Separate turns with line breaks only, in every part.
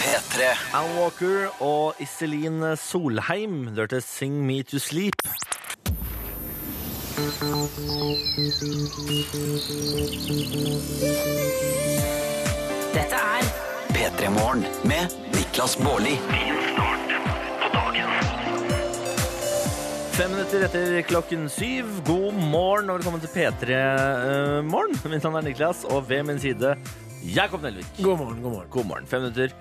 P3.
Alan Walker og Iselin Solheim lørte 'Sing Me To Sleep'.
Dette er
P3 Morgen med Niklas Baarli.
Fem minutter etter klokken syv. God morgen og velkommen til P3 eh, Morgen. Mitt navn er Niklas, og ved min side Jakob Nelvik.
God morgen, god morgen.
God morgen. Fem minutter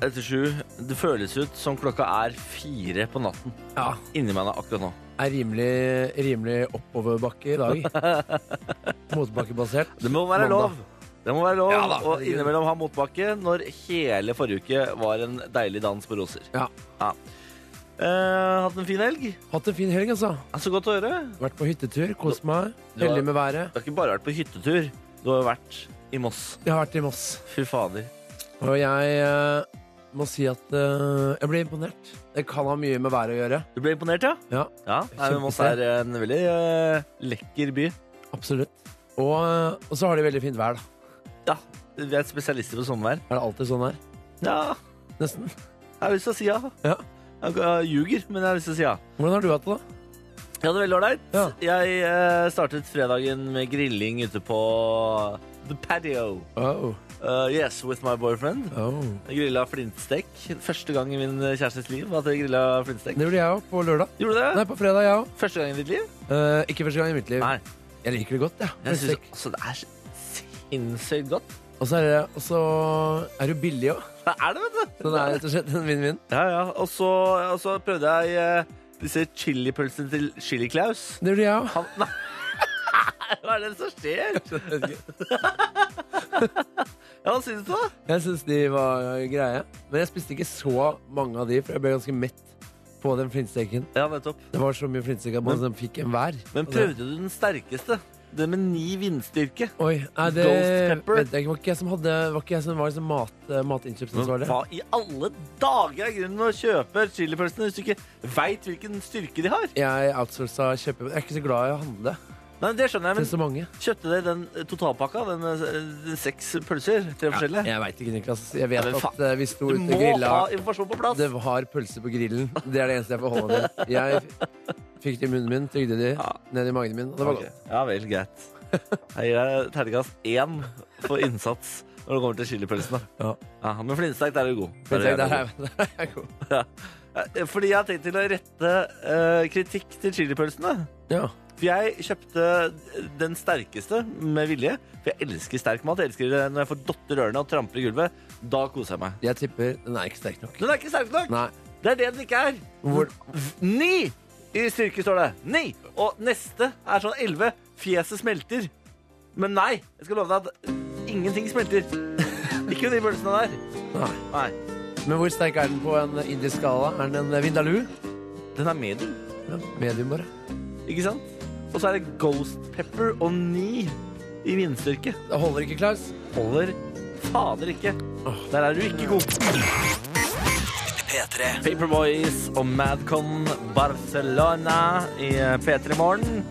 etter sju. Det føles ut som klokka er fire på natten.
Ja,
Inni meg nå, akkurat nå.
er rimelig, rimelig oppoverbakke i dag. Motbakkebasert.
Det må være
Mandag.
lov. Det må være lov
Ja da,
å
herregud.
innimellom ha motbakke når hele forrige uke var en deilig dans på roser.
Ja.
Eh, hatt en fin helg?
Hatt en fin helg, altså.
Er så godt å høre.
Vært på hyttetur, kost meg.
Du har-
Heldig med været.
Du har ikke bare vært på hyttetur. Du har jo vært i Moss.
Jeg har vært i Moss.
Fy fader.
Og jeg eh, må si at eh, jeg ble imponert. Det kan ha mye med været å gjøre.
Du ble imponert, ja?
Ja,
Ja, Nei, men Moss er en veldig eh, lekker by.
absolutt. Og, eh, og så har de veldig fint vær, da.
Ja, Vi er spesialister på sommervær.
Er det alltid sånn her?
Ja,
Nesten.
jeg har lyst til å si ja.
Ja.
Jeg jeg ljuger, men jeg har lyst til å si ja.
Hvordan har du hatt det, da?
Jeg hadde veldig ålreit.
Ja.
Jeg eh, startet fredagen med grilling ute på the patio.
Oh,
Eh, yes, with my boyfriend.
oh.
Jeg grilla flintstek. Første gang i min kjærestes liv at jeg grilla flintstek.
Det gjorde jeg òg, på lørdag.
Gjorde du det?
Nei, på fredag, jeg òg.
Første gang i ditt liv?
Eh, ikke første gang i mitt liv.
Nei.
Jeg liker det godt, jeg. Ja.
Jeg synes, altså, det er sinnssykt godt.
Og så er det, og så er det jo billig òg.
Det er det, vet du.
Så det er rett og slett en vinn-vinn.
Ja, ja. Og så, og så prøvde jeg eh, disse chilipølsene til Chili Claus.
Det gjorde jeg òg.
Han, nei. Hva er det som skjer? Ja, hva synes du da?
Jeg syns de var greie. Men jeg spiste ikke så mange av de, for jeg ble ganske mett på den flintsteken.
Ja, nettopp.
Det var så mye flintstek at man fikk en hver.
Men prøvde du den sterkeste? Den med ni vindstyrke?
Oi, nei, det
Ghost pepper?
vet jeg ikke. Var ikke jeg som hadde Var ikke jeg som var liksom mat, matinnkjøpsansvarlig?
Hva i alle dager er grunnen å kjøpe chilipølsene hvis du ikke veit hvilken styrke de har?
Jeg outsourca kjøpe... Jeg er ikke så glad i å handle
Nei, men Det skjønner jeg,
til så mange.
men kjøpte dere den eh, totalpakka? Den, eh, den seks pølser? Tre forskjellige?
Jeg veit ikke, Niklas. Jeg vet
Ja, men faen.
at eh, vi sto
Du
ute
må
og grilla.
ha informasjon på plass!
Det var pølse på grillen. Det er det eneste jeg får holde med. Jeg f- fikk det i munnen min, tygde de
Ja.
ned i magen min, og det var
Ok.
godt.
Ja vel, greit. Jeg gir deg terningkast én for innsats når det kommer til chilipølsene.
Ja.
Ja, men flintstek, der er du god. Der
Men tenk,
er du
der
god.
er, der er jeg god.
Eh, Fordi jeg har tenkt til å rette eh, kritikk til chilipølsene.
Ja.
For jeg kjøpte den sterkeste med vilje. For jeg elsker sterk mat. Jeg elsker det når jeg får dotter i ørene og tramper i gulvet. Da koser jeg meg.
Jeg tipper den er ikke sterk nok.
Den er ikke sterk nok!
Nei.
Det er det den ikke er.
Hvor,
Ni i styrke står det. Ni! Og neste er sånn elleve. Fjeset smelter. Men nei, jeg skal love deg at ingenting smelter. Ikke de pølsene der.
nei.
Nei.
Men hvor sterk er den på en indisk skala? Er den en eh, vindaloo?
Den er medium,
Ja, medium, bare.
ikke sant? Og så er det Ghost Pepper og ni i vindstyrke.
Det holder ikke, Klaus.
Holder fader ikke. Der er du ikke god.
P3.
Paperboys og Madcon Barcelona i eh, P3 Morgen.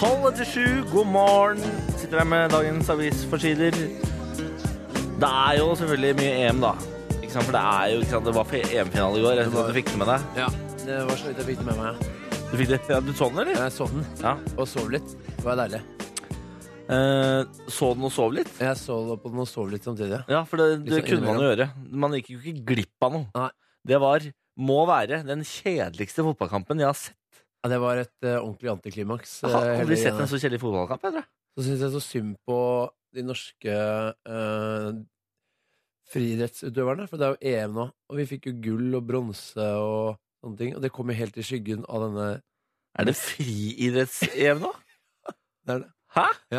12 etter 7, god morgen. Sitter her med dagens avisforsider. Det er jo selvfølgelig mye EM, da. Ikke sant? For det er jo, ikke sant? Det var EM-finale i går. Jeg synes at du fikk det med deg.
Ja. Det var så vidt jeg fikk det med meg.
Du fikk det? Ja, du så den, eller?
Jeg så den,
Ja.
og sov litt. Det var deilig.
Eh, så den og sov litt?
Jeg så på den og sov litt samtidig.
Ja, for det, det
Litt sånn
kunne man jo gjøre. Man gikk jo ikke glipp av noe.
Nei.
Det var, må være, den kjedeligste fotballkampen jeg har sett.
Ja, det var et eh, ordentlig antiklimaks.
Jeg har
eh, hele
aldri sett
greia.
en så kjedelig fotballkamp, jeg tror.
Så syns jeg så synd på de norske eh, friidrettsutøverne, for det er jo EM nå. Og vi fikk jo gull og bronse og sånne ting. Og det kom jo helt i skyggen av denne
Er det friidretts-EM nå?
Det er det.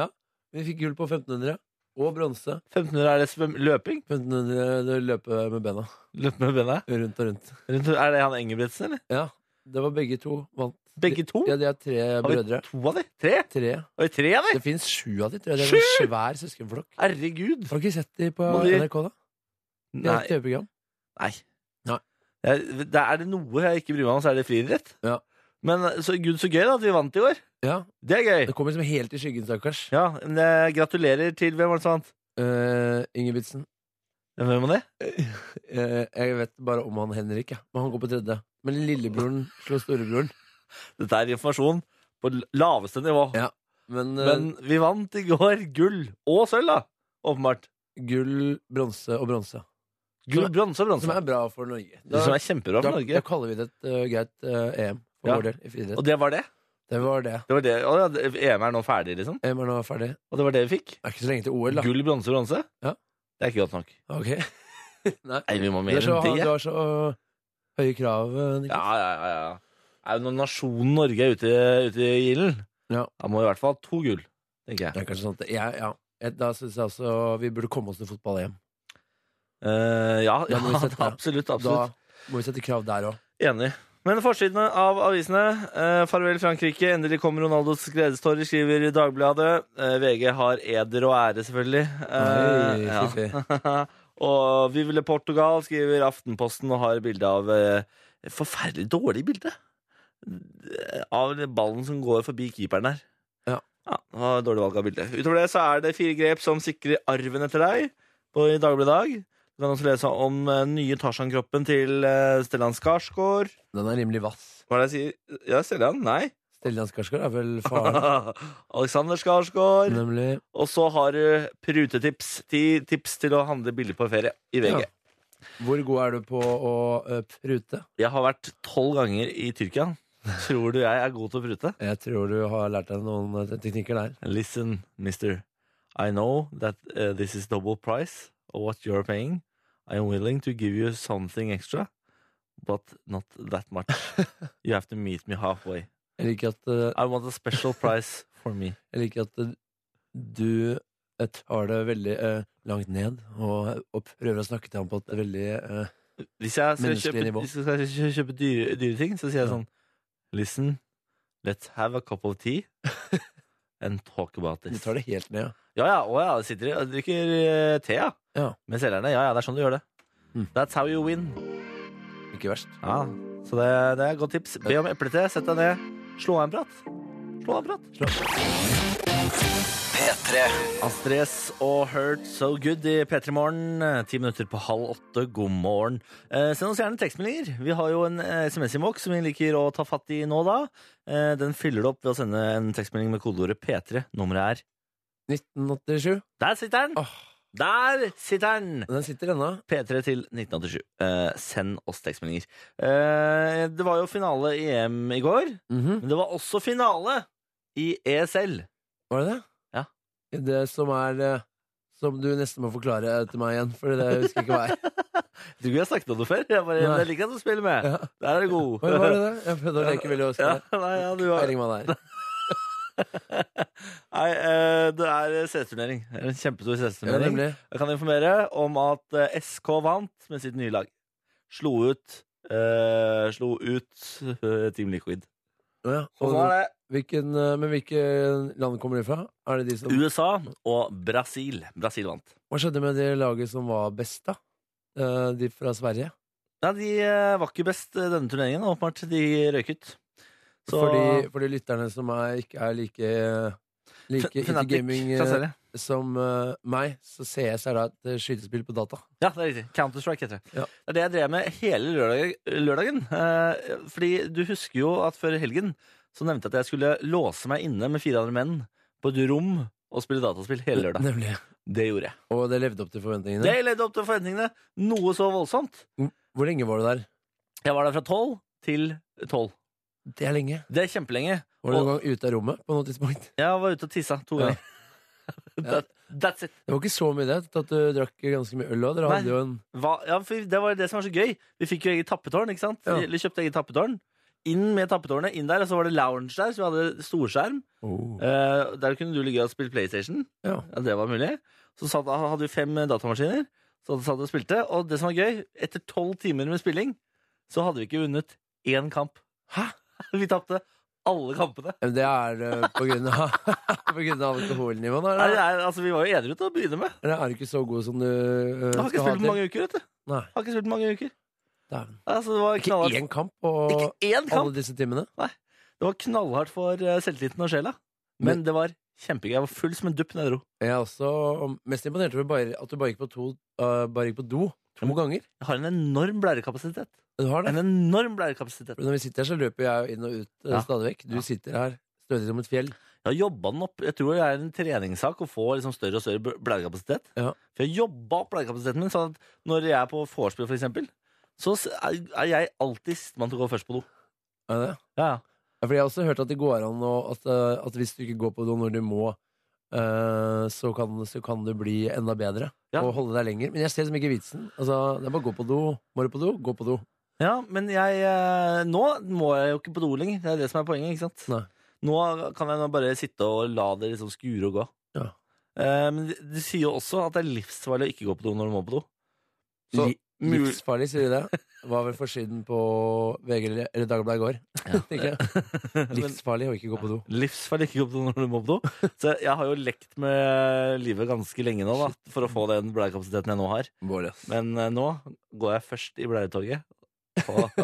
Hæ?
Vi fikk gull på 1500, og bronse.
1500 er det svøm løping?
1500 det løpe med bena
Løpe med bena?
rundt og rundt.
Rundt- Er det han Engebretsen, eller?
Ja, det var begge to vant.
Begge to?
Ja, de er tre
vi-
brødre.
To av de? Tre?
Tre.
Oi, tre av de?
Det fins sju av de, tror jeg. Det er en svær søskenflokk.
Herregud.
Har du ikke sett de på
Må de-
NRK, da? De har et
Nei.
TV-program.
Nei.
Nei.
Jeg- det- Er det noe jeg ikke bryr meg om, så er det friidrett.
Ja.
Men så, gud, så gøy da at vi vant i år.
Ja,
Det er gøy. eh,
det kommer liksom helt i skyggen, stakkars.
Ja, men jeg gratulerer til hvem var det som vant?
Uh, eh, Ingebrigtsen.
Hvem var det?
Eh, Jeg vet bare om han Henrik, jeg. men han går på tredje. Men lillebroren slår storebroren.
Dette er informasjon på l- laveste nivå.
Ja. Men, eh,
Men vi vant i går gull og sølv, da. Åpenbart.
gull, bronse og bronse.
Gull, bronse og
Som
bronse.
er bra for Norge.
Det som er kjempebra for
da, da
Norge.
kaller vi det et eh, greit eh, EM for
Ja.
vår del i friidrett.
Og det var det?
Det var det.
det, var det. Å, ja, det- EM er nå ferdig, liksom?
EM er nå ferdig.
Og det var det vi fikk?
Det er ikke så lenge til OL, da.
Gull, bronse og bronse?
Ja.
Det er ikke godt nok.
Ok. Nei.
Nei, vi må
Du
mer
har så,
enn
du
det.
har så høye krav, eh, Niklas.
Ja, ja, ja, ja. Er det når nasjonen Norge er ute, ute i ilden,
Ja.
da må vi i hvert fall ha to gull, tenker jeg.
Det er kanskje sant. Jeg, ja. Jeg- Da syns jeg altså vi burde komme oss til fotball-EM.
Eh, ja, ja
Da må vi sette-
absolutt. absolutt.
Da må vi sette krav der òg.
Enig. Men forsidene av avisene. Eh, farvel Frankrike, endelig kom Ronaldos gledestårer, skriver Dagbladet. Eh, VG har eder og ære, selvfølgelig. Eh,
Oi, fiffig.
ja. og Vivele Portugal skriver Aftenposten og har bilde av eh, et Forferdelig dårlig bilde. Eh, Av ballen som går forbi keeperen der.
Ja.
ja det var dårlig valg av bilde. Utover det så er det fire grep som sikrer arven etter deg på, i Dagbladet i dag. Du kan også lese om eh, nye Tarzan-kroppen til eh, Stellan Skarsgård.
Den er rimelig vass.
Hva er det jeg sier? Ja, Stellan? Nei.
Stellan Skarsgård er vel faren,
Alexander Skarsgård.
nemlig.
Og så har du prutetips. Ti tips til å handle billig på ferie i VG.
Ja. Hvor god er du på å eh, prute?
Jeg har vært tolv ganger i Tyrkia. Tror du jeg er god til å prute?
Jeg tror du har lært deg noen eh, teknikker der.
Listen, mister. I know that uh, this is double price of what you're paying. I am willing to give you something extra, but not that much. You have to meet me halfway.
Jeg liker at, eh,
I want a special price for me.
jeg liker at eh, du eh, tar det veldig eh, langt ned og, eh, og prøver å snakke til ham på et veldig eh,
Hvis jeg skal
Menneskelig
kjøpe,
nivå.
hvis jeg skal kjø- kjøpe dyre, dyre ting, så sier jeg
Ja.
sånn Listen, let's have a cup of tea and talk about
Du
this.
tar det helt ned. ja.
Ja, ja, å ja, det sitter i- jeg drikker eh, te, ja.
Ja.
Med selgerne. Ja, ja, det er sånn du gjør det.
Mm.
That's how you win.
Ikke verst.
Ja, så det, det er et godt tips. Be om eplete, sett deg ned, slå av en prat. Slå av en prat.
P3.
Astrid S og Hurt So Good i P3 Morgen. eh, Ti minutter på halv åtte. God morgen. Eh, send oss gjerne tekstmeldinger. Vi har jo en eh, SMS-innboks som vi liker å ta fatt i nå, da. Eh, den fyller du opp ved å sende en tekstmelding med kodeordet P3. Nummeret er
1987.
Der sitter den!
Åh,
Der sitter den!
den sitter ennå.
P3 til 1987. Eh, send oss tekstmeldinger. Eh, det var jo finale i EM i går,
Mhm.
men det var også finale i E ESL.
Var det det?
Ja.
Det som er eh, Som du nesten må forklare eh, til meg igjen, for det husker jeg ikke hva er.
Jeg tror ikke vi har snakket om det før. Jeg, bare,
Nei.
jeg liker at du spiller med.
Ja.
Der er du god.
Hva var det der? Jeg prøvde å leke veldig å huske
Ja,
det.
nei, ja, du har...
Peiling hva det er.
nei, eh, det er CS-turnering. Det er En kjempestor
Ja,
CS-turnering.
nemlig.
Jeg kan informere om at eh, SK vant med sitt nye lag. Slo ut eh, Slo ut eh, Team Liquid.
Å Ja.
Og
Og
nå er det
hvilken, eh, men hvilke land kommer de fra? Er det de som
USA og Brasil. Brasil vant.
Hva skjedde med det laget som var best, da? Eh, De fra Sverige?
Nei, de eh, var ikke best eh, denne turneringen, åpenbart. De røyk ut. Så-
For, de, for de lytterne som er, ikke er like Like
F-
into
Fnatic
gaming eh,
fra Sverige.
som eh, meg, så CS er da et eh, skytespill på data.
Ja, det er riktig. Counter-Strike heter det.
Ja.
Det er det jeg drev med hele lørdag, lørdagen. Eh, fordi du husker jo at før helgen så nevnte jeg at jeg skulle låse meg inne med fire andre menn på et rom og spille dataspill hele lørdag.
Nemlig.
Det gjorde jeg.
Og det levde opp til forventningene.
Det ledde opp til forventningene. Noe så voldsomt.
Hvor lenge var du der?
Jeg var der fra tolv til tolv.
Det er lenge.
Det er kjempelenge.
Var du noen gang ute av rommet på noe tidspunkt?
Jeg var ute og tissa to
Ja.
ganger. That, that's it.
Det var ikke så mye det, til at du drakk ganske mye øl òg. Dere
Nei.
hadde jo en
Hva, ja, for det var det som var så gøy. Vi fikk jo eget tappetårn, ikke sant?
Ja.
Vi kjøpte eget tappetårn. Inn med tappetårnet, inn der, og så var det lounge der, så vi hadde storskjerm. Eh, der kunne du ligge og spille PlayStation.
ja.
Ja, det var mulig. Så satt, hadde vi fem eh, datamaskiner. Så satt vi og spilte. Og det som var gøy, etter tolv timer med spilling, så hadde vi ikke vunnet én kamp. Hæ? Vi tapte alle kampene.
Men det er eh, på grunn av, på grunn av alkoholnivået, da?
Nei, det
Eller,
er, altså, vi var jo edru til å begynne med.
eller er du ikke så god som du eh,
Jeg har ikke spilt
skal ha
på
til?
mange uker, vet du.
Nei,
Har ikke spilt på mange uker.
dæven.
Altså, det var
Ikke
knallhardt.
én kamp og
Ikke én kamp!
alle disse timene?
Det var knallhardt for eh, selvtilliten og sjela. Men det var Kjempegøy. Jeg var full som en dupp da jeg dro.
Jeg er også mest imponert over bare, at du bare gikk på, to, øh, bare gikk på do to ganger.
Jeg har en enorm blærekapasitet.
Du har det.
En enorm blærekapasitet.
For Når vi sitter her, så løper jeg jo inn og ut øh,
Ja.
stadig vekk. Du
Ja.
sitter her stødig som et fjell.
Jeg har jobba den opp. Jeg tror det er en treningssak å få liksom større og større bl- blærekapasitet.
Ja.
For jeg har jobba opp blærekapasiteten min, sånn at når jeg er på vorspiel, for eksempel, så s- er er jeg alltid sistemann til å gå først på do.
Er det det?
Ja, ja.
Ja, fordi jeg har også hørt at det går an å, at, øh, at hvis du ikke går på do når du må, øh, så, kan, så kan du bli enda bedre
Ja.
og holde deg lenger. Men jeg ser liksom ikke vitsen. Altså, det er bare å gå på do. Må du på do, gå på do.
Ja, men jeg eh, Nå må jeg jo ikke på do lenger. Det er det som er poenget. ikke sant?
Nei.
Nå kan jeg nå bare sitte og la det liksom skure og gå.
Ja.
Eh, men de- de sier jo også at det er livsfarlig å ikke gå på do når du må på do. Så
Li-
mul-
Livsfarlig, sier de det. Var vel forsiden på VG eller- eller Dagbladet i går. tenker jeg.
Men-
Livsfarlig å ikke gå på do.
Livsfarlig ikke gå på do når du må på do. Så jeg har jo lekt med livet ganske lenge nå da, for å få den bleiekapasiteten jeg nå har. Men eh, nå går jeg først i bleietoget. Og,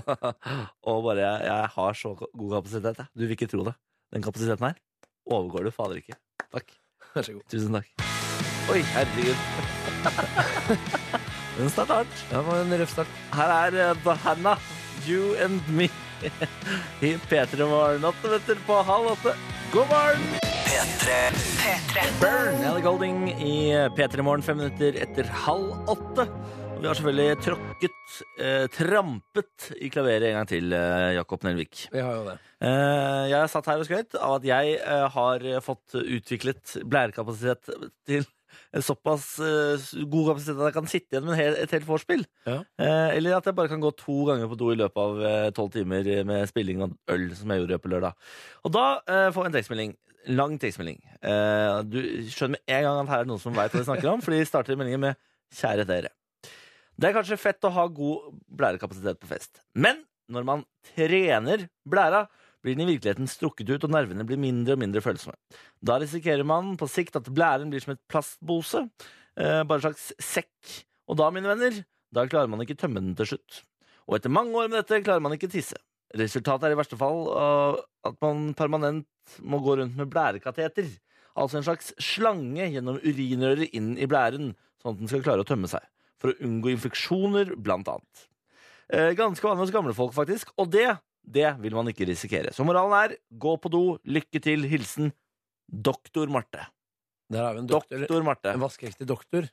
og bare jeg, jeg har så god kapasitet. Jeg. Du vil ikke tro det. Den kapasiteten her overgår du fader ikke. Takk.
Vær så god.
Tusen takk. Oi, herregud. Den starter hardt.
Ja, det var en røff start.
Her er eh, Bahana, you and me. I P3 Morgen. Åtte minutter på halv åtte. God morgen!
P3.
Burn! Ellie Golding i P3 Morgen fem minutter etter halv åtte. Og vi har selvfølgelig tråkket, eh, trampet i klaveret en gang til, eh, Jakob Nelvik.
Vi har jo det.
Eh, jeg har satt her og skrøt av at jeg eh, har fått utviklet blærekapasitet til en såpass eh, god kapasitet at jeg kan sitte igjen med en hel, et helt vorspiel.
Ja.
Eh, eller at jeg bare kan gå to ganger på do i løpet av eh, tolv timer med spilling og øl, som jeg gjorde på lørdag. Og da eh, får jeg en tekstmelding. Lang tekstmelding. Eh, du skjønner med en gang at her er det noen som veit hva de snakker om, for de starter meldingen med 'Kjære dere'. Det er kanskje fett å ha god blærekapasitet på fest, men når man trener blæra, blir den i virkeligheten strukket ut, og nervene blir mindre og mindre følsomme. Da risikerer man på sikt at blæren blir som et plastbose, eh, bare en slags sekk. Og da, mine venner, da klarer man ikke tømme den til slutt. Og etter mange år med dette klarer man ikke tisse. Resultatet er i verste fall eh, at man permanent må gå rundt med blærekateter, altså en slags slange gjennom urinrøret inn i blæren, sånn at den skal klare å tømme seg, for å unngå infeksjoner, blant annet. Eh, Ganske vanlig hos gamle folk, faktisk. Og det, det vil man ikke risikere. Så moralen er gå på do, lykke til, hilsen doktor Marte.
Der har vi en doktor.
Doktor Marte.
En vaskeekte doktor.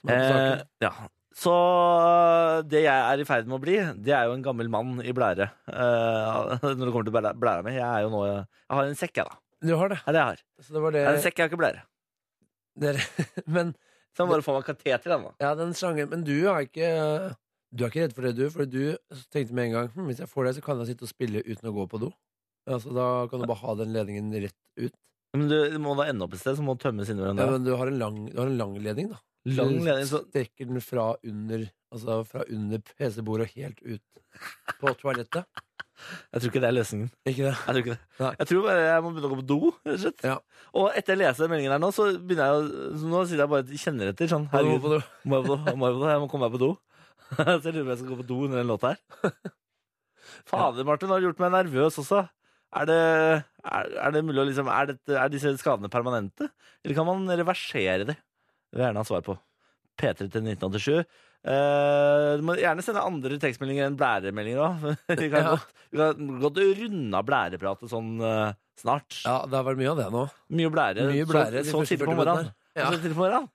Som er på
Eh,
saken.
ja. Så eh, det jeg er i ferd med å bli, det er jo en gammel mann i blære. Eh, når det kommer til blæ- blæra mi. Jeg er jo nå Jeg har en sekk, jeg, da.
Du har det.
Det er det jeg har.
Så det var
Jeg har en
det.
sekk, jeg har ikke blære.
Dere. Men,
Så jeg må bare få meg kateter, den, da.
ja, den slangen. Men du er ikke Du er ikke redd for det, du. For du tenkte med en gang hm, hvis jeg får det, så kan jeg sitte og spille uten å gå på do. Altså, da kan du bare ha den ledningen rett ut.
Men du, du må da ende opp et sted, så må du tømmes inni
Ja,
hverandre.
men du har en lang, du har en lang ledning, da.
Lang ledning,
Du
så
strekker den fra under Altså fra under PC-bordet og helt ut på toalettet.
jeg tror ikke det er løsningen.
Ikke det?
Jeg tror ikke det.
Nei.
Jeg tror bare jeg må begynne å gå på do. rett og slett.
Ja.
Og etter jeg leser den meldingen her nå, så begynner jeg å så Nå sitter jeg bare og kjenner etter. sånn,
Må du gå
herregud,
på do?
må jeg på do? Må jeg på do? Jeg må komme meg på do. Så jeg lurer på om jeg skal gå på do under den låta her. Fader, Martin, har du gjort meg nervøs også? Er det, er, er det mulig å liksom er, dette- er disse skadene permanente? Eller kan man reversere de? Det vil jeg gjerne ha svar på. P3 til 1987. Eh, du må gjerne sende andre tekstmeldinger enn blæremeldinger òg. Vi kan
Ja.
godt vi kan godt runde av blærepratet sånn eh, snart.
Ja, det har vært mye av det nå.
Mye blære.
Mye blære de
så, så
første
tidlig på
40
morgenen.
minuttene. Altså, Ja.
Så tidlig på morgenen.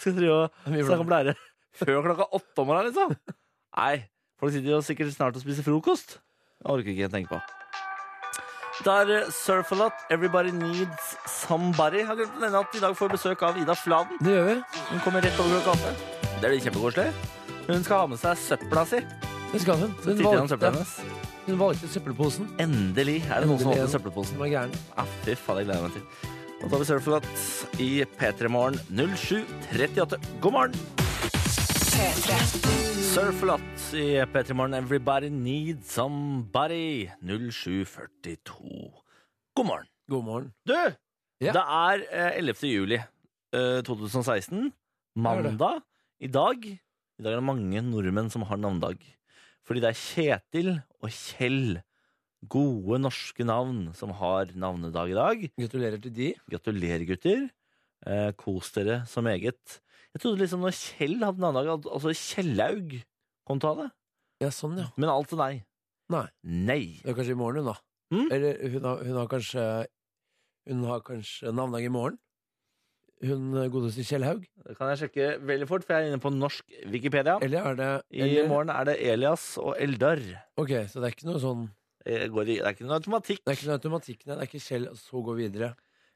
Skal vi drive og
Mye
snakke
blære.
om blære før klokka åtte om morgenen, liksom? Nei. Folk sitter jo sikkert snart og spiser frokost. Jeg orker ikke å tenke på. Da er det Surf a Lot, Everybody Needs Somebody. Jeg har glemt å nevne at i dag får vi besøk av Ida Fladen.
Det gjør vi.
Hun kommer rett over klokka åtte. Det blir kjempekoselig. Hun skal ha med seg søpla si.
Det skal hun.
Så
Hun
titter jeg om søpla
valgte,
hennes.
hun valgte søppelposen.
Endelig er det noen som
Endelig er
åpner
det-
søppelposen.
Som var gæren.
Ja, Ah, fy faen, jeg gleder meg til. Da tar vi Surflot i P3 Morgen 0738. God morgen! Surflot i P3 Morgen. Everybody needs somebody. 0742. God morgen.
God morgen.
Du!
Ja.
Det er eh, 11. juli eh, 2016. Mandag. I dag I dag er det mange nordmenn som har navnedag. Fordi det er Kjetil og Kjell gode norske navn som har navnedag i dag.
Gratulerer til de.
Gratulerer, gutter. Eh, kos dere så meget. Jeg trodde liksom når Kjell hadde navnedag, at altså Kjellaug kom til å ha det.
Ja, sånn, ja.
Men alt er nei.
Nei.
Nei.
Det er kanskje i morgen, hun, da.
Mm.
Eller hun har, hun har kanskje Hun har kanskje navnedag i morgen. Hun eh, godeste Kjellhaug.
Det kan jeg sjekke veldig fort, for jeg er inne på norsk Wikipedia.
Eller er det
I
eller,
morgen er det Elias og Eldar.
Ok, så det er ikke noe sånn
Eh, Går i, det er ikke noe automatikk.
Det er ikke noe automatikk, nei. Det er ikke Kjell, så gå videre.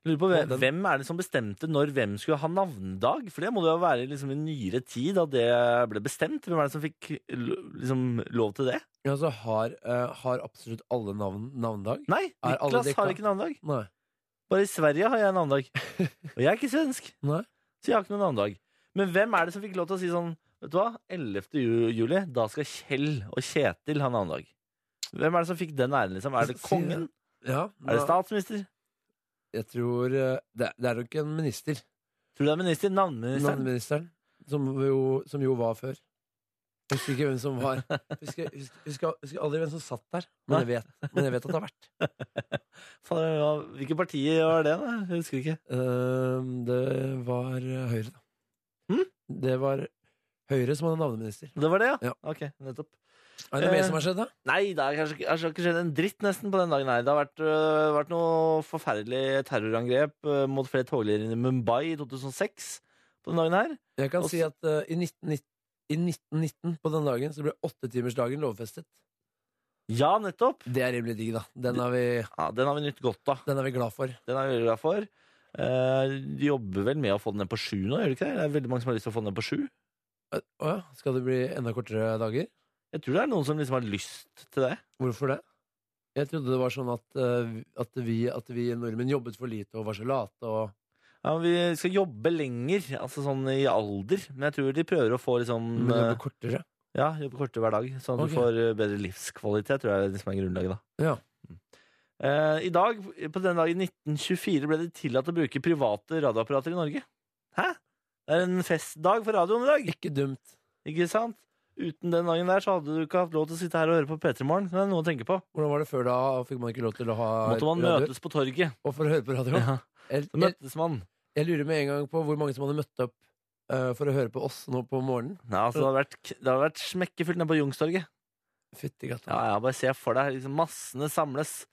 Lurer på hvem,
Den-
hvem er det som bestemte når hvem skulle ha navnedag? For det må det jo være liksom i nyere tid da det ble bestemt. Hvem er det som fikk lo- liksom, lov til det?
Ja, så har, eh, har absolutt alle navn navnedag?
Nei,
Er alle
Niklas har
dekka?
ikke navnedag.
Nei.
Bare i Sverige har jeg navnedag. Og jeg er ikke svensk,
Nei.
så jeg har ikke noen navnedag. Men hvem er det som fikk lov til å si sånn Vet du hva, 11. ju- juli, da skal Kjell og Kjetil ha navnedag. Hvem er det som fikk den æren, liksom? Er det
Si-
kongen?
Ja,
Er det
nei,
statsminister?
Jeg tror eh, Det, det er nok en minister.
Tror du det er minister? Navneministeren?
Navneministeren. Som jo, som jo var før. Husker ikke hvem som var Husker, husker, husker, husker aldri hvem som satt der, men jeg vet, men jeg vet at det har vært.
Fader, hva- Hvilke partier var det, da? Jeg husker ikke.
Ehm, det var eh, Høyre, da.
Hm?
Det var Høyre som hadde navneminister.
Det var det, ja?
Ja.
Ok, nettopp.
Er det noe
Eh,
mer som har skjedd, da?
Nei, det har kanskje ikke- kanskje ikke skjedd en dritt nesten på den dagen her. Det har vært, øh, vært noe forferdelig terrorangrep øh, mot flere toglinjer i Mumbai i 2006 på den dagen her.
Jeg kan
også-
si at eh, i, 1919, i 1919, på den dagen, så ble åttetimersdagen lovfestet.
Ja, nettopp.
Det er rimelig digg, da. Den er vi,
Ja, Den har vi nytt godt av.
den er vi glad for.
Den er vi veldig glad for. Eh, de jobber vel med å få den ned på sju nå, gjør de ikke det? Det er veldig mange som har lyst til å få den ned på sju.
Eh, Å ja, skal det bli enda kortere dager?
Jeg tror det er noen som liksom har lyst til det.
Hvorfor det? Jeg trodde det var sånn at, eh, at, vi, at vi nordmenn jobbet for lite og var så late og
Ja, men vi skal jobbe lenger, altså sånn i alder. Men jeg tror de prøver å få liksom
Men
eh,
jobbe kortere.
Ja, jobbe kortere hver dag, sånn at
Ok.
du får eh, bedre livskvalitet, tror jeg er det som er grunnlaget, da.
Ja.
Mm. Eh, I dag, på denne dagen i 1924, ble det tillatt å bruke private radioapparater i Norge. Hæ? Det er en festdag for radioen i dag,
Ikke dumt.
ikke sant? Uten den dagen der så hadde du ikke hatt lov til å sitte her og høre på P3 Morgen. Det er noe å tenke på.
Hvordan var det før da? Fikk man ikke lov til å ha
Måtte man
radio?
møtes på torget.
Og for å høre på radio?
Ja.
Jeg,
Så
jeg,
møttes man.
jeg lurer med en gang på hvor mange som hadde møtt opp eh, for å høre på oss nå på morgenen.
Ja, altså, det har vært, det har vært smekkefullt nede på Youngstorget.
Fytti
Ja,
gata.
ja, bare se for deg. Liksom, massene samles.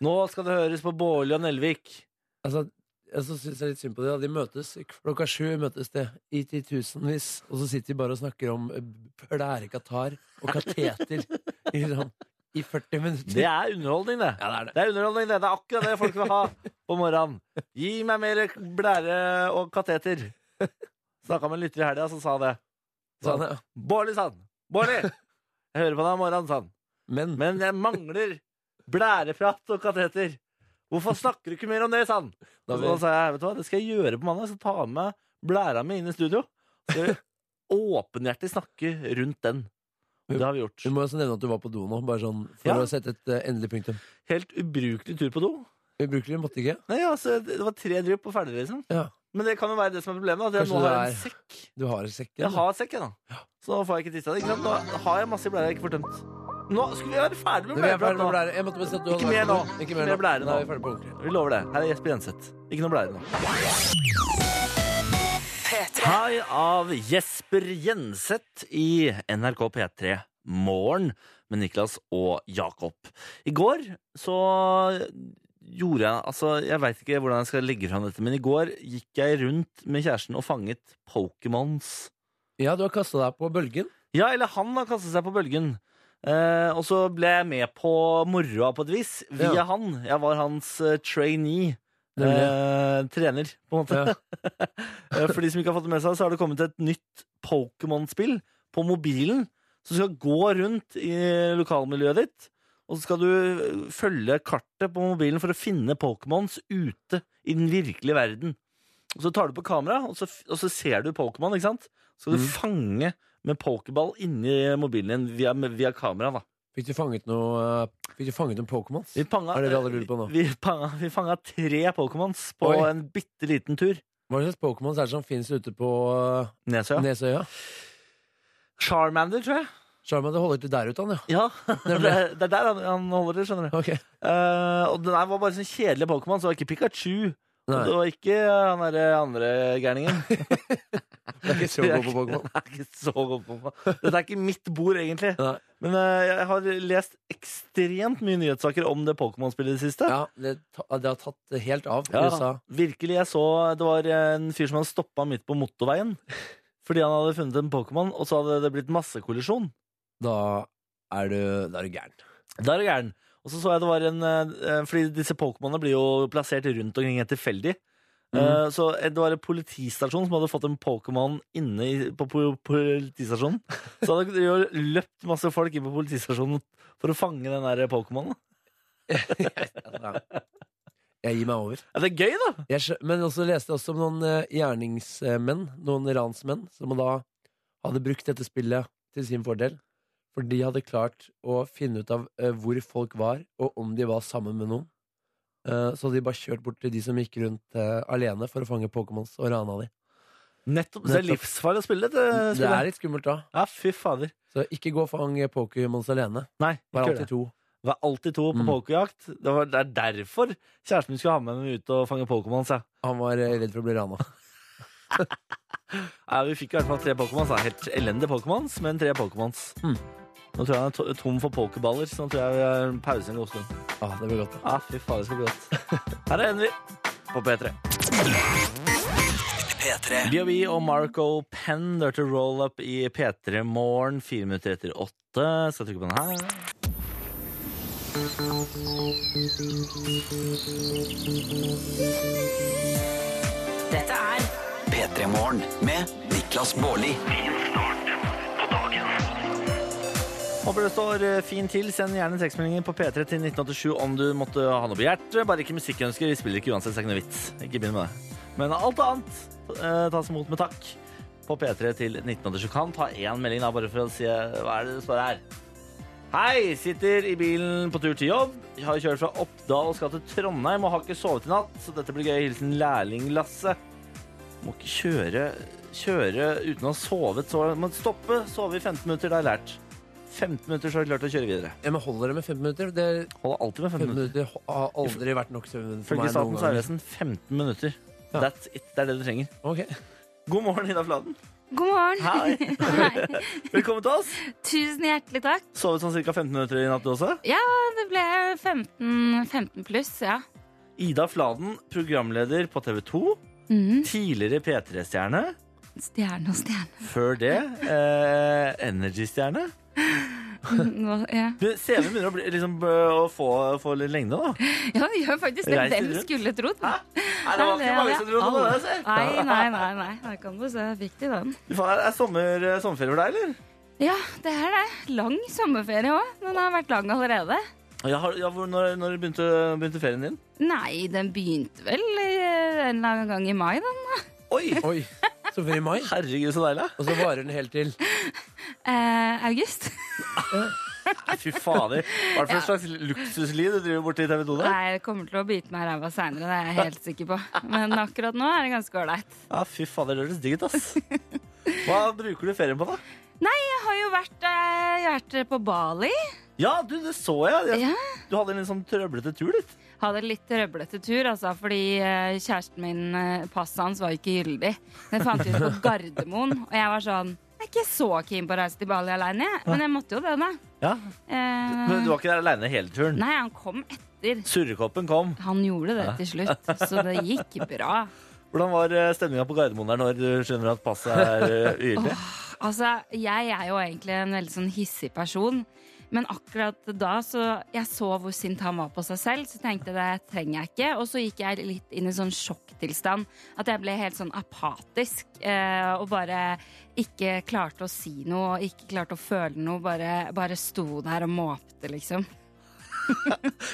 Nå skal det høres på Bårli og Nelvik.
Altså, jeg så syns jeg litt synd på det. da. De møtes klokka sju møtes de i titusenvis, og så sitter de bare og snakker om eh, plærekatar og kateter liksom, i 40 minutter.
Det er underholdning, det.
Ja, det er det.
Det er underholdning, det. Det er akkurat det folk vil ha på morgenen. Gi meg mer blære og kateter. Snakka med en lytter i helga som sa det.
Sa han, Sånn, ja.
Bårli, sa han. Bårli! Jeg hører på deg om morgenen, sa han.
Men,
Men jeg mangler blæreprat og kateter. Hvorfor snakker du ikke mer om det, sa han.
Da
Og
vil-
så sa jeg, vet du hva, det skal jeg gjøre på mandag. Jeg skal ta med meg blæra mi inn i studio. Så skal vi åpenhjertig snakke rundt den. Og Det har vi gjort.
du må også nevne at du var på do nå, bare sånn for
Ja.
å sette et eh, endelig punktum.
Helt ubrukelig tur på do.
Ubrukelig måtte ikke.
Nei, altså, det var tre drypp og ferdig, liksom.
Ja.
Men det kan jo være det som er problemet. At jeg
Kanskje
nå
det
har en
er-
sekk.
Du har sekken.
Jeg har sekk, jeg, da. Så nå får jeg ikke tissa det. Ikke sant? Nå har jeg masse blære jeg ikke får tømt. Nå skulle vi være ferdig
du. Nå
med
er vi ferdig med
blæreprat nå.
blære. Jeg måtte bare si at du
Ikke
hadde vært
mer
på
nå.
do.
Ikke
Ikke mer
mer
nå.
blære
Nå
nå.
er vi ferdig på ordentlig.
Vi lover det. Her er Jesper Jenseth. Ikke noe blære nå. Hei av Jesper Jenseth i NRK P3 Morgen med Niklas og Jakob. I går så gjorde jeg Altså, jeg veit ikke hvordan jeg skal legge fram dette, men i går gikk jeg rundt med kjæresten og fanget Pokémons.
Ja, du har kasta deg på bølgen.
Ja, eller han har kastet seg på bølgen. Eh, og så ble jeg med på moroa på et vis, via
Ja.
han. Jeg var hans eh, trainee.
Det ble-
Eh, trener, på en måte.
Ja.
Eh, For de som ikke har fått det med seg, så har det kommet et nytt Pokémon-spill på mobilen. Så du skal gå rundt i lokalmiljøet ditt, og så skal du eh, følge kartet på mobilen for å finne Pokémons ute i den virkelige verden. Og så tar du på kamera, og så, f- og så ser du Pokémon, ikke sant? Så skal du
Mm.
fange med pokerball inni mobilen din via, via kamera, da.
Fikk du fanget noe eh, Fikk du fanget noen Pokémons?
Vi panga,
Er det det alle lurer på nå?
Vi panga, vi panga tre Pokémons på
Oi.
en bitte liten tur.
Hva slags Pokémons er det som finnes ute på eh,
Nesøya.
Nesøya?
Charmander, tror jeg.
Sjarma, det holder til der ute, han, ja.
Ja, det er, det er der han, han holder til, skjønner du.
Ok.
Eh, og den her var bare sånn kjedelig Pokémon, så det var ikke Pikachu. Og det
Nei,
var ikke eh, han derre andre gærningen.
det er ikke så god på Pokémon.
Jeg er ikke så god på Pokémon. Dette er ikke mitt bord, egentlig.
Nei.
Men eh, jeg har lest ekstremt mye nyhetssaker om det Pokémon-spillet i det siste.
Ja, det, ta- det har tatt helt av i
Ja,
USA.
Virkelig, jeg så Det var en fyr som hadde stoppa midt på motorveien fordi han hadde funnet en Pokémon, og så hadde det blitt massekollisjon.
Da er du, da er du gæren.
Der er gæren. Og så så jeg det var en eh, Fordi disse Pokémonene blir jo plassert rundt omkring helt tilfeldig. Eh,
Mhm.
Så det var en politistasjon som hadde fått en Pokémon inne i, på po- politistasjonen. Så hadde det jo løpt masse folk inn på politistasjonen for å fange den der Pokémonen.
Ja. Jeg gir meg over.
Er det gøy, da?
Jeg, skjø- men også leste jeg også om noen eh, gjerningsmenn, noen ransmenn, som da hadde brukt dette spillet til sin fordel. For de hadde klart å finne ut av eh, hvor folk var, og om de var sammen med noen. Eh, Så hadde de bare kjørt bort til de som gikk rundt eh, alene for å fange Pokémons, og rana de.
Nettopp. Så det er
Nettopp.
livsfarlig å spille dette
Det
spillet.
er litt skummelt da.
Ja, fy fader.
Så ikke gå og fang eh, Pokémons alene.
Nei, ikke
Vær
gjør det. Mhm.
alltid to.
Var alltid to på
Mm.
pokerjakt. Det, var- det er derfor kjæresten min skulle ha med meg ut og fange Pokémons. Ja.
Han var eh, redd for å bli rana.
Ja, vi fikk i hvert fall tre Pokémons. da. Helt elendige Pokémons, men tre Pokémons.
Mm.
Nå tror jeg han er to- tom for pokerballer, så nå tror jeg vi har en pause en god stund.
Ah, det blir godt.
Ja, fy faen, det skal bli godt. Her er Envy på P3.
P3.
BOB og Marco Penn dør til roll-up i P3 morgen, fire minutter etter åtte. Skal jeg trykke på den her.
Dette er
P3 Morgen med Niklas Baarli.
Håper det står eh, fint til. Send gjerne tekstmeldinger på P3 til 1987 om du måtte ha noe på hjertet. Bare ikke musikkønsker. Vi spiller ikke uansett, så det er ikke noe vits. Ikke begynn med det. Men alt annet eh, tas imot med takk på P3 til 1987. Kan ta én melding, da, bare for å si eh, hva er det det står her. Hei! Sitter i bilen på tur til jobb. Jeg har kjørt fra Oppdal og skal til Trondheim og har ikke sovet i natt, så dette blir gøy. Hilsen lærling Lasse. Må ikke kjøre, kjøre uten å ha sovet. Så må stoppe, sove i 15 minutter. Det har jeg lært. 15 minutter så har jeg klart å kjøre videre.
Ja, men holder det med 15 minutter? Det er
Holder alltid med 15 minutter.
15 minutter har aldri vært nok søvn for
Følge
meg noen
Statens
ganger.
vegvesen 15 minutter.
Ja.
That's it. Det er det du trenger.
Ok.
God morgen, Ida Fladen.
God morgen.
Hei.
Hei.
Velkommen til oss.
Tusen hjertelig takk.
Sovet sånn ca. 15 minutter i natt, du også.
Ja, det ble 15, 15 pluss, ja.
Ida Fladen, programleder på TV 2.
Mm.
Tidligere P3-stjerne.
Stjerne og stjerne.
Før det eh, Energy-stjerne.
Nå- Ja,
Men CV begynner å, bli, liksom, å få, få litt lengde, da.
ja det gjør faktisk det.
Reiser
Hvem
rundt.
skulle trodd?
Hæ? Nei, det var ikke mange som trodde på det. altså. ser.
Nei, nei, nei. nei. Der kan du se. Fikk de den.
Fy faen, Er sommer, eh, sommerferie for deg, eller?
Ja, det er det. Lang sommerferie òg. Den har vært lang allerede.
Ja, har, ja, hvor, når når begynte, begynte ferien din?
Nei, den begynte vel eh, en eller annen gang i mai, den.
Oi!
Oi, så før i mai?
Herregud, så deilig.
Og så varer den helt til.
Eh, august.
Nei, Fy fader. Hva er det for et slags luksusliv du driver borti TV 2 der?
Nei, jeg kommer til å bite meg i ræva seinere, det er jeg helt sikker på. Men akkurat nå er det ganske ålreit.
Ja, fy fader, det høres digg ut, ass. Hva bruker du ferien på, da?
Jeg har jo vært, eh, jeg har vært på Bali.
Ja, du, det så jeg. jeg
Ja.
Du hadde en litt sånn trøblete tur, litt.
Hadde en litt røblete tur, altså, fordi eh, kjæresten min, eh, passet hans, var ikke gyldig. Det fant vi ut på Gardermoen, og jeg var sånn Jeg er ikke så keen på å reise til Bali aleine, jeg. Men jeg måtte jo det, da.
Ja.
Eh,
Men du var ikke der aleine hele turen.
Nei, han kom etter.
Surrekoppen kom.
Han gjorde det til slutt, så det gikk bra.
Hvordan var stemninga på Gardermoen der når du skjønner at passet er eh, ugyldig?
Altså, jeg er jo egentlig en veldig sånn hissig person. Men akkurat da så jeg så hvor sint han var på seg selv, så tenkte jeg det trenger jeg ikke. Og så gikk jeg litt inn i sånn sjokktilstand. At jeg ble helt sånn apatisk eh, og bare ikke klarte å si noe og ikke klarte å føle noe. Bare, bare sto der og måpte, liksom.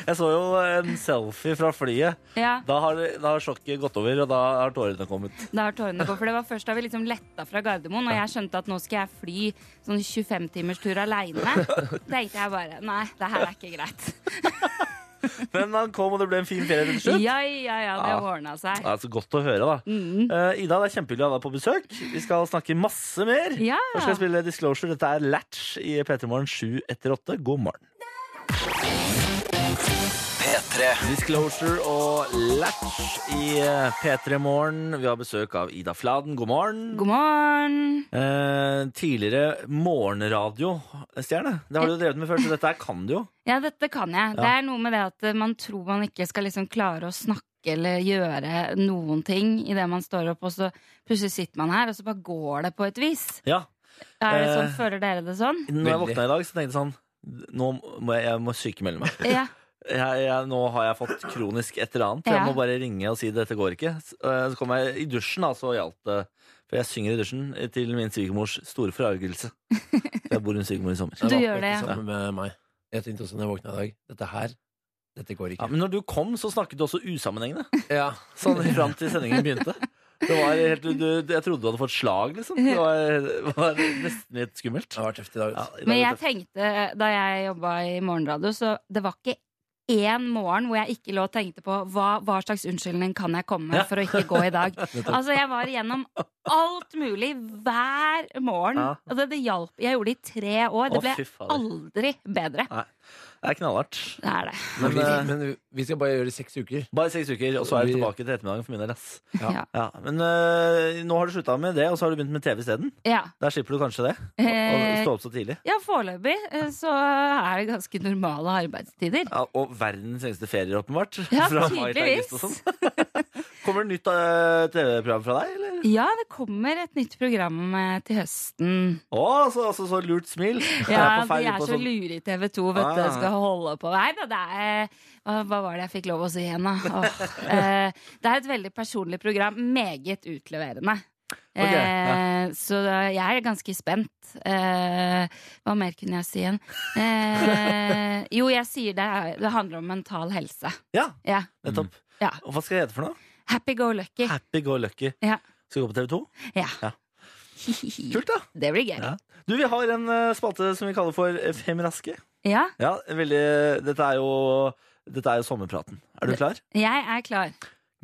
Jeg så jo en selfie fra flyet.
Ja,
Da har, da har sjokket gått over, og da har tårene kommet.
da har tårene gått. For det var først da vi liksom letta fra Gardermoen, og jeg skjønte at nå skal jeg fly sånn 25 timers tur aleine. Tenkte jeg bare nei, det her er ikke greit.
Men han kom, og det ble en fin ferie til slutt.
Ja, ja, ja, det
Ja.
ordna seg.
Ja, så godt å høre, da.
Mm.
Eh, Ida, det er kjempehyggelig å ha deg på besøk. Vi skal snakke masse mer.
Ja.
Først skal jeg spille Disclosure. Dette er Latch i P3 Morgen 7 etter 8. God morgen.
P3.
Disclosure og Latch i eh, P3 Morgen. Vi har besøk av Ida Fladen. God morgen.
God morgen.
Eh, tidligere morgenradiostjerne. Det har du jo drevet med før, så dette her kan du jo.
Ja, dette kan jeg. Det er noe med det at eh, man tror man ikke skal liksom klare å snakke eller gjøre noen ting idet man står opp, og så plutselig sitter man her, og så bare går det på et vis.
Ja.
Er det sånn,
Eh.
Føler dere det sånn?
Når jeg
Veldig.
våkna i dag, så tenkte jeg sånn Nå må jeg, jeg må sykemelde meg.
Ja.
jeg, jeg, nå har jeg fått kronisk et eller annet. Jeg
Ja.
må bare ringe og si dette går ikke. S- eh, Så kom jeg i dusjen, da, så hjalp det. For jeg synger i dusjen eh, til min svigermors store forargelse. For Jeg bor hos svigermor i sommer.
Du gjør det, ja.
ja. Sammen med meg. Jeg tenkte også når jeg våkna i dag Dette her, dette går
Ja,
ikke.
men når du kom, så snakket du også usammenhengende.
Ja,
Sånn fram til sendingen begynte. Det var helt, du, du, jeg trodde du hadde fått slag, liksom. Det var, det var nesten litt skummelt.
Det var tøft i dag.
Ja, i
altså.
dag
Men
var
jeg
det-
tenkte, da jeg jobba i morgenradio, så det var ikke én morgen hvor jeg ikke lå og tenkte på hva, hva slags unnskyldning kan jeg komme med for å ikke gå i dag. Altså, jeg var igjennom alt mulig hver morgen.
Ja.
Altså, det hjalp. Jeg gjorde det i tre
Å,
år. Det
fy
ble
fader.
aldri bedre.
det er knallhardt.
Det er det.
Men, vi,
eh,
men vi skal bare gjøre det i seks uker.
Bare seks uker, og så er
Vi-
du tilbake til ettermiddagen for min del. ass.
Ja.
Ja.
Ja, men eh, nå har du slutta med det, og så har du begynt med TV isteden.
Ja.
Der slipper du kanskje det? Å
Eh,
stå opp så tidlig?
ja, foreløpig eh, så er det ganske normale arbeidstider.
Ja, og verdens lengste ferier, åpenbart.
Ja,
Fra mai til august og
tydeligvis.
sånn. Kommer det nytt eh, TV-program fra deg, eller?
Ja, det kommer et nytt program eh, til høsten.
Å, så, altså, så lurt smil!
Ja,
Jeg på feil
de er
på
så
sånn-
lure i TV 2, vet du.
Ah.
Skal holde på Nei da, det er Hva hva var det jeg fikk lov å si igjen, da? Åh. Eh, Det er et veldig personlig program. Meget utleverende.
Ok, ja.
Eh, Så jeg er ganske spent. Eh, Hva mer kunne jeg si igjen? Eh, Jo, jeg sier det, er- det handler om mental helse.
Ja,
Ja.
nettopp.
Ja.
Og hva skal jeg hete for noe?
Happy go lucky.
Happy Go Lucky.
Ja.
Skal vi gå på TV 2?
Ja.
Ja.
Det
Kult, da!
blir gøy.
Ja. Du, vi har en eh, spalte som vi kaller for eh, Fem raske.
Ja,
Ja, veldig Dette er jo dette er jo sommerpraten. Er du klar?
jeg er klar.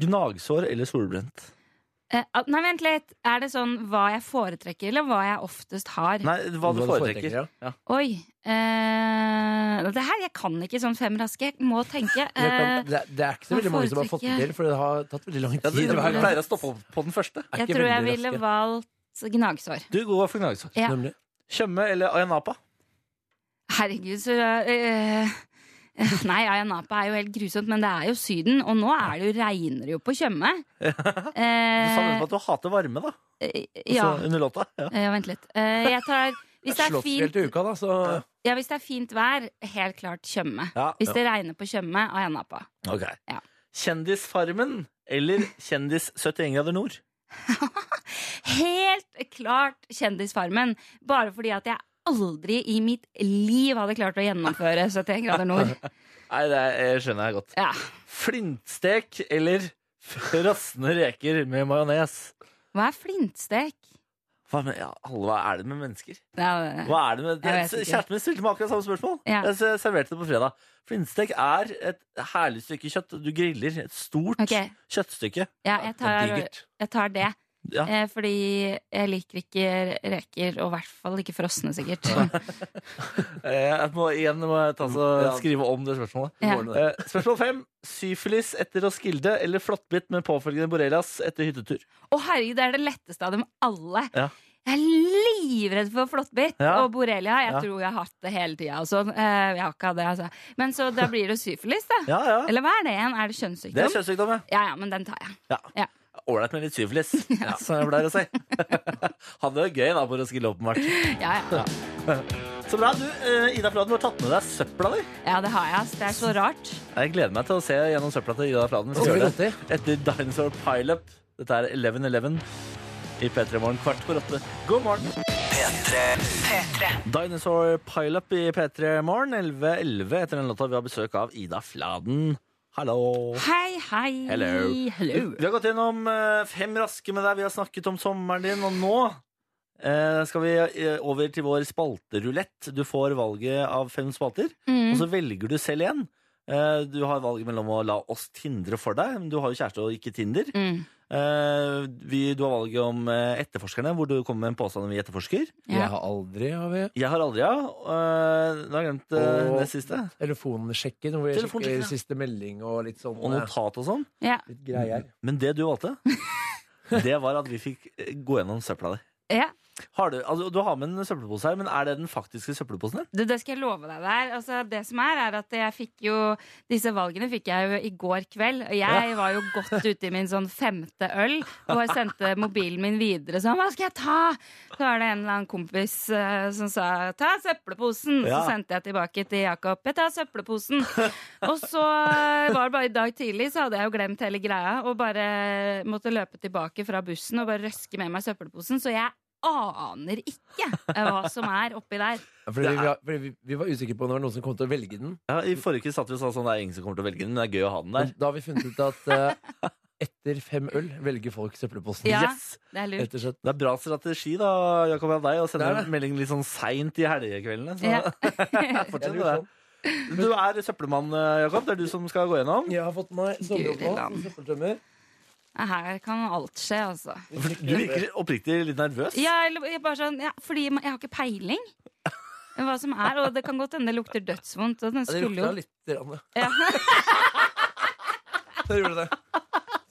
Gnagsår eller solbrent?
Eh, at- Nei, vent litt. Er det sånn hva jeg foretrekker, eller hva jeg oftest har?
Nei, hva du
Hva du foretrekker,
foretrekker. Ja.
Oi. eh, det her, Jeg kan ikke sånn fem raske. Jeg må tenke.
Det,
Eh,
kan, det, er- det er ikke så
hva
veldig mange som har fått det
foretrekker
til, for det har tatt veldig lang
Ja,
tid.
du
hver gang.
pleier å stoppe opp på den første.
Er
jeg
ikke
tror jeg
veldig
ville
raske.
valgt gnagsår.
Du går for gnagsår.
Ja.
Nemlig.
Tjøme eller Ayanapa?
Herregud, så eh, Nei, Ayia Napa er jo helt grusomt, men det er jo Syden. Og nå er det jo, regner det jo på Tjøme.
Du sa Altså-
Eh,
nettopp at du hater varme, da.
eh, ja.
Ja. Så, under låta. Ja.
Eh, vent litt. Eh, jeg tar hvis det, er
Slottsfjell
fint,
til uka, da, så
ja, hvis det er fint vær, helt klart Tjøme.
Ja,
Hvis det regner på Tjøme, Ayia Napa.
Ok.
Ja.
Kjendisfarmen eller Kjendis 71 grader nord?
Helt klart Kjendisfarmen. Bare fordi at jeg aldri i mitt liv hadde klart å gjennomføre 71 grader nord.
Nei, det er, jeg skjønner jeg godt.
Ja.
Flintstek eller frosne reker med majones?
Hva er flintstek?
Hva, med- ja, alle, hva er det med mennesker?
Ja,
Hva er det med,
Jeg vet ikke.
Kjæresten min stilte meg akkurat samme spørsmål.
Ja.
Jeg s- serverte det på fredag. Flintstek er et herlig stykke kjøtt. Du griller et stort
Ok.
kjøttstykke.
ja jeg, tar,
digert.
jeg tar det.
Ja.
Eh, fordi jeg liker ikke reker, og i hvert fall ikke frosne, sikkert.
Eh, Jeg må igjen må jeg ta så
Ja.
skrive om det spørsmålet.
Ja.
Eh, spørsmål fem. Syfilis etter Roskilde eller flåttbitt med påfølgende borrelias etter hyttetur?
Å herregud, det er det letteste av dem alle.
Ja.
Jeg er livredd for flåttbitt
Ja.
og borrelia. Jeg
Ja.
tror jeg har hatt det hele tida. Jeg har ikke hatt det, altså. Men så da blir det syfilis, da.
Ja, ja.
Eller hva er det igjen? Er det
Det er
kjønnssykdom?
kjønnssykdom, ja.
Ja, ja, men den tar jeg.
Ålreit med litt syfilis, som jeg pleier å si. Hadde det gøy da på Roskilde, åpenbart.
Ja, ja.
Så bra. du, eh, Ida Fladen, du har tatt med deg søpla di.
ja, det har jeg. ass. Det er så rart.
Jeg gleder meg til å se gjennom søpla til Ida Fladen. Vi
Skal vi
gjør
gå til?
Etter Dinosaur Pileup. Dette er 11.11 i P3 Morgen kvart på åtte. God morgen!
P3.
Dinosaur Pileup i P3 Morgen 11.11 etter den låta vi har besøk av Ida Fladen. Hallo!
Hei, hei.
Hello.
Hello.
Vi har gått gjennom eh, fem raske med deg. Vi har snakket om sommeren din, og nå eh, skal vi eh, over til vår spalterulett. Du får valget av fem spalter, og
Mm.
så velger du selv igjen. Eh, Du har valget mellom å la oss tindre for deg, men du har jo kjæreste og ikke Tinder.
Mm.
Eh, vi, du har valget om eh, etterforskerne, hvor du kommer med en påstand om vi etterforsker.
Jeg
Ja.
har aldri, har vi.
Jeg har aldri, ja. Eh, nå har jeg glemt eh,
Og-
det siste.
Telefonsjekken, hvor jeg
Telefonsjekken,
sjekker
ja.
siste melding og litt sånn
Og
eh,
notat og sånn.
Ja.
litt greier.
Men det du valgte, det var at vi fikk eh, gå gjennom søpla di.
ja.
Har du, altså, du har med en søppelpose her, men er det den faktiske søppelposen din?
Det, det skal jeg love deg der. Altså, det som er, er at jeg fikk jo Disse valgene fikk jeg jo i går kveld. Og jeg var jo godt ute i min sånn femte øl og jeg sendte mobilen min videre sånn Hva skal jeg ta? Så var det en eller annen kompis eh, som sa ta søppelposen.
Ja.
Så sendte jeg tilbake til Jakob. Jeg tar søppelposen. og så eh, var det bare i dag tidlig, så hadde jeg jo glemt hele greia og bare måtte løpe tilbake fra bussen og bare røske med meg søppelposen. Så jeg aner ikke eh, hva som er oppi der.
Ja, Fordi, vi, var- fordi vi, vi var usikre på om det var noen som kom til å velge den.
Ja, I forrige uke satt vi og sa sånn, det er ingen som kommer til å velge den, men det er gøy å ha den
Men
der.
da har vi funnet ut at eh, etter fem øl velger folk søppelposten.
Ja.
Yes!
Det er lurt.
Rett og slett.
Det er bra strategi da, Jakob av deg, å sende
Det er det.
en melding litt sånn seint i helgekveldene. Så
Ja.
fortsett med det. Du er søppelmann, eh, Jakob. Det er du som skal gå gjennom.
Jeg har fått meg
land.
sommeropphold, søppeltømmer.
Her kan alt skje, altså.
Du virker oppriktig litt nervøs.
Ja, eller jeg bare sånn, ja, fordi jeg har ikke peiling. Hva som er, og Det kan godt hende det lukter dødsvondt. Og den
Ja, det
skulle jo
lukta litt. Ranne.
Ja.
Det gjorde det.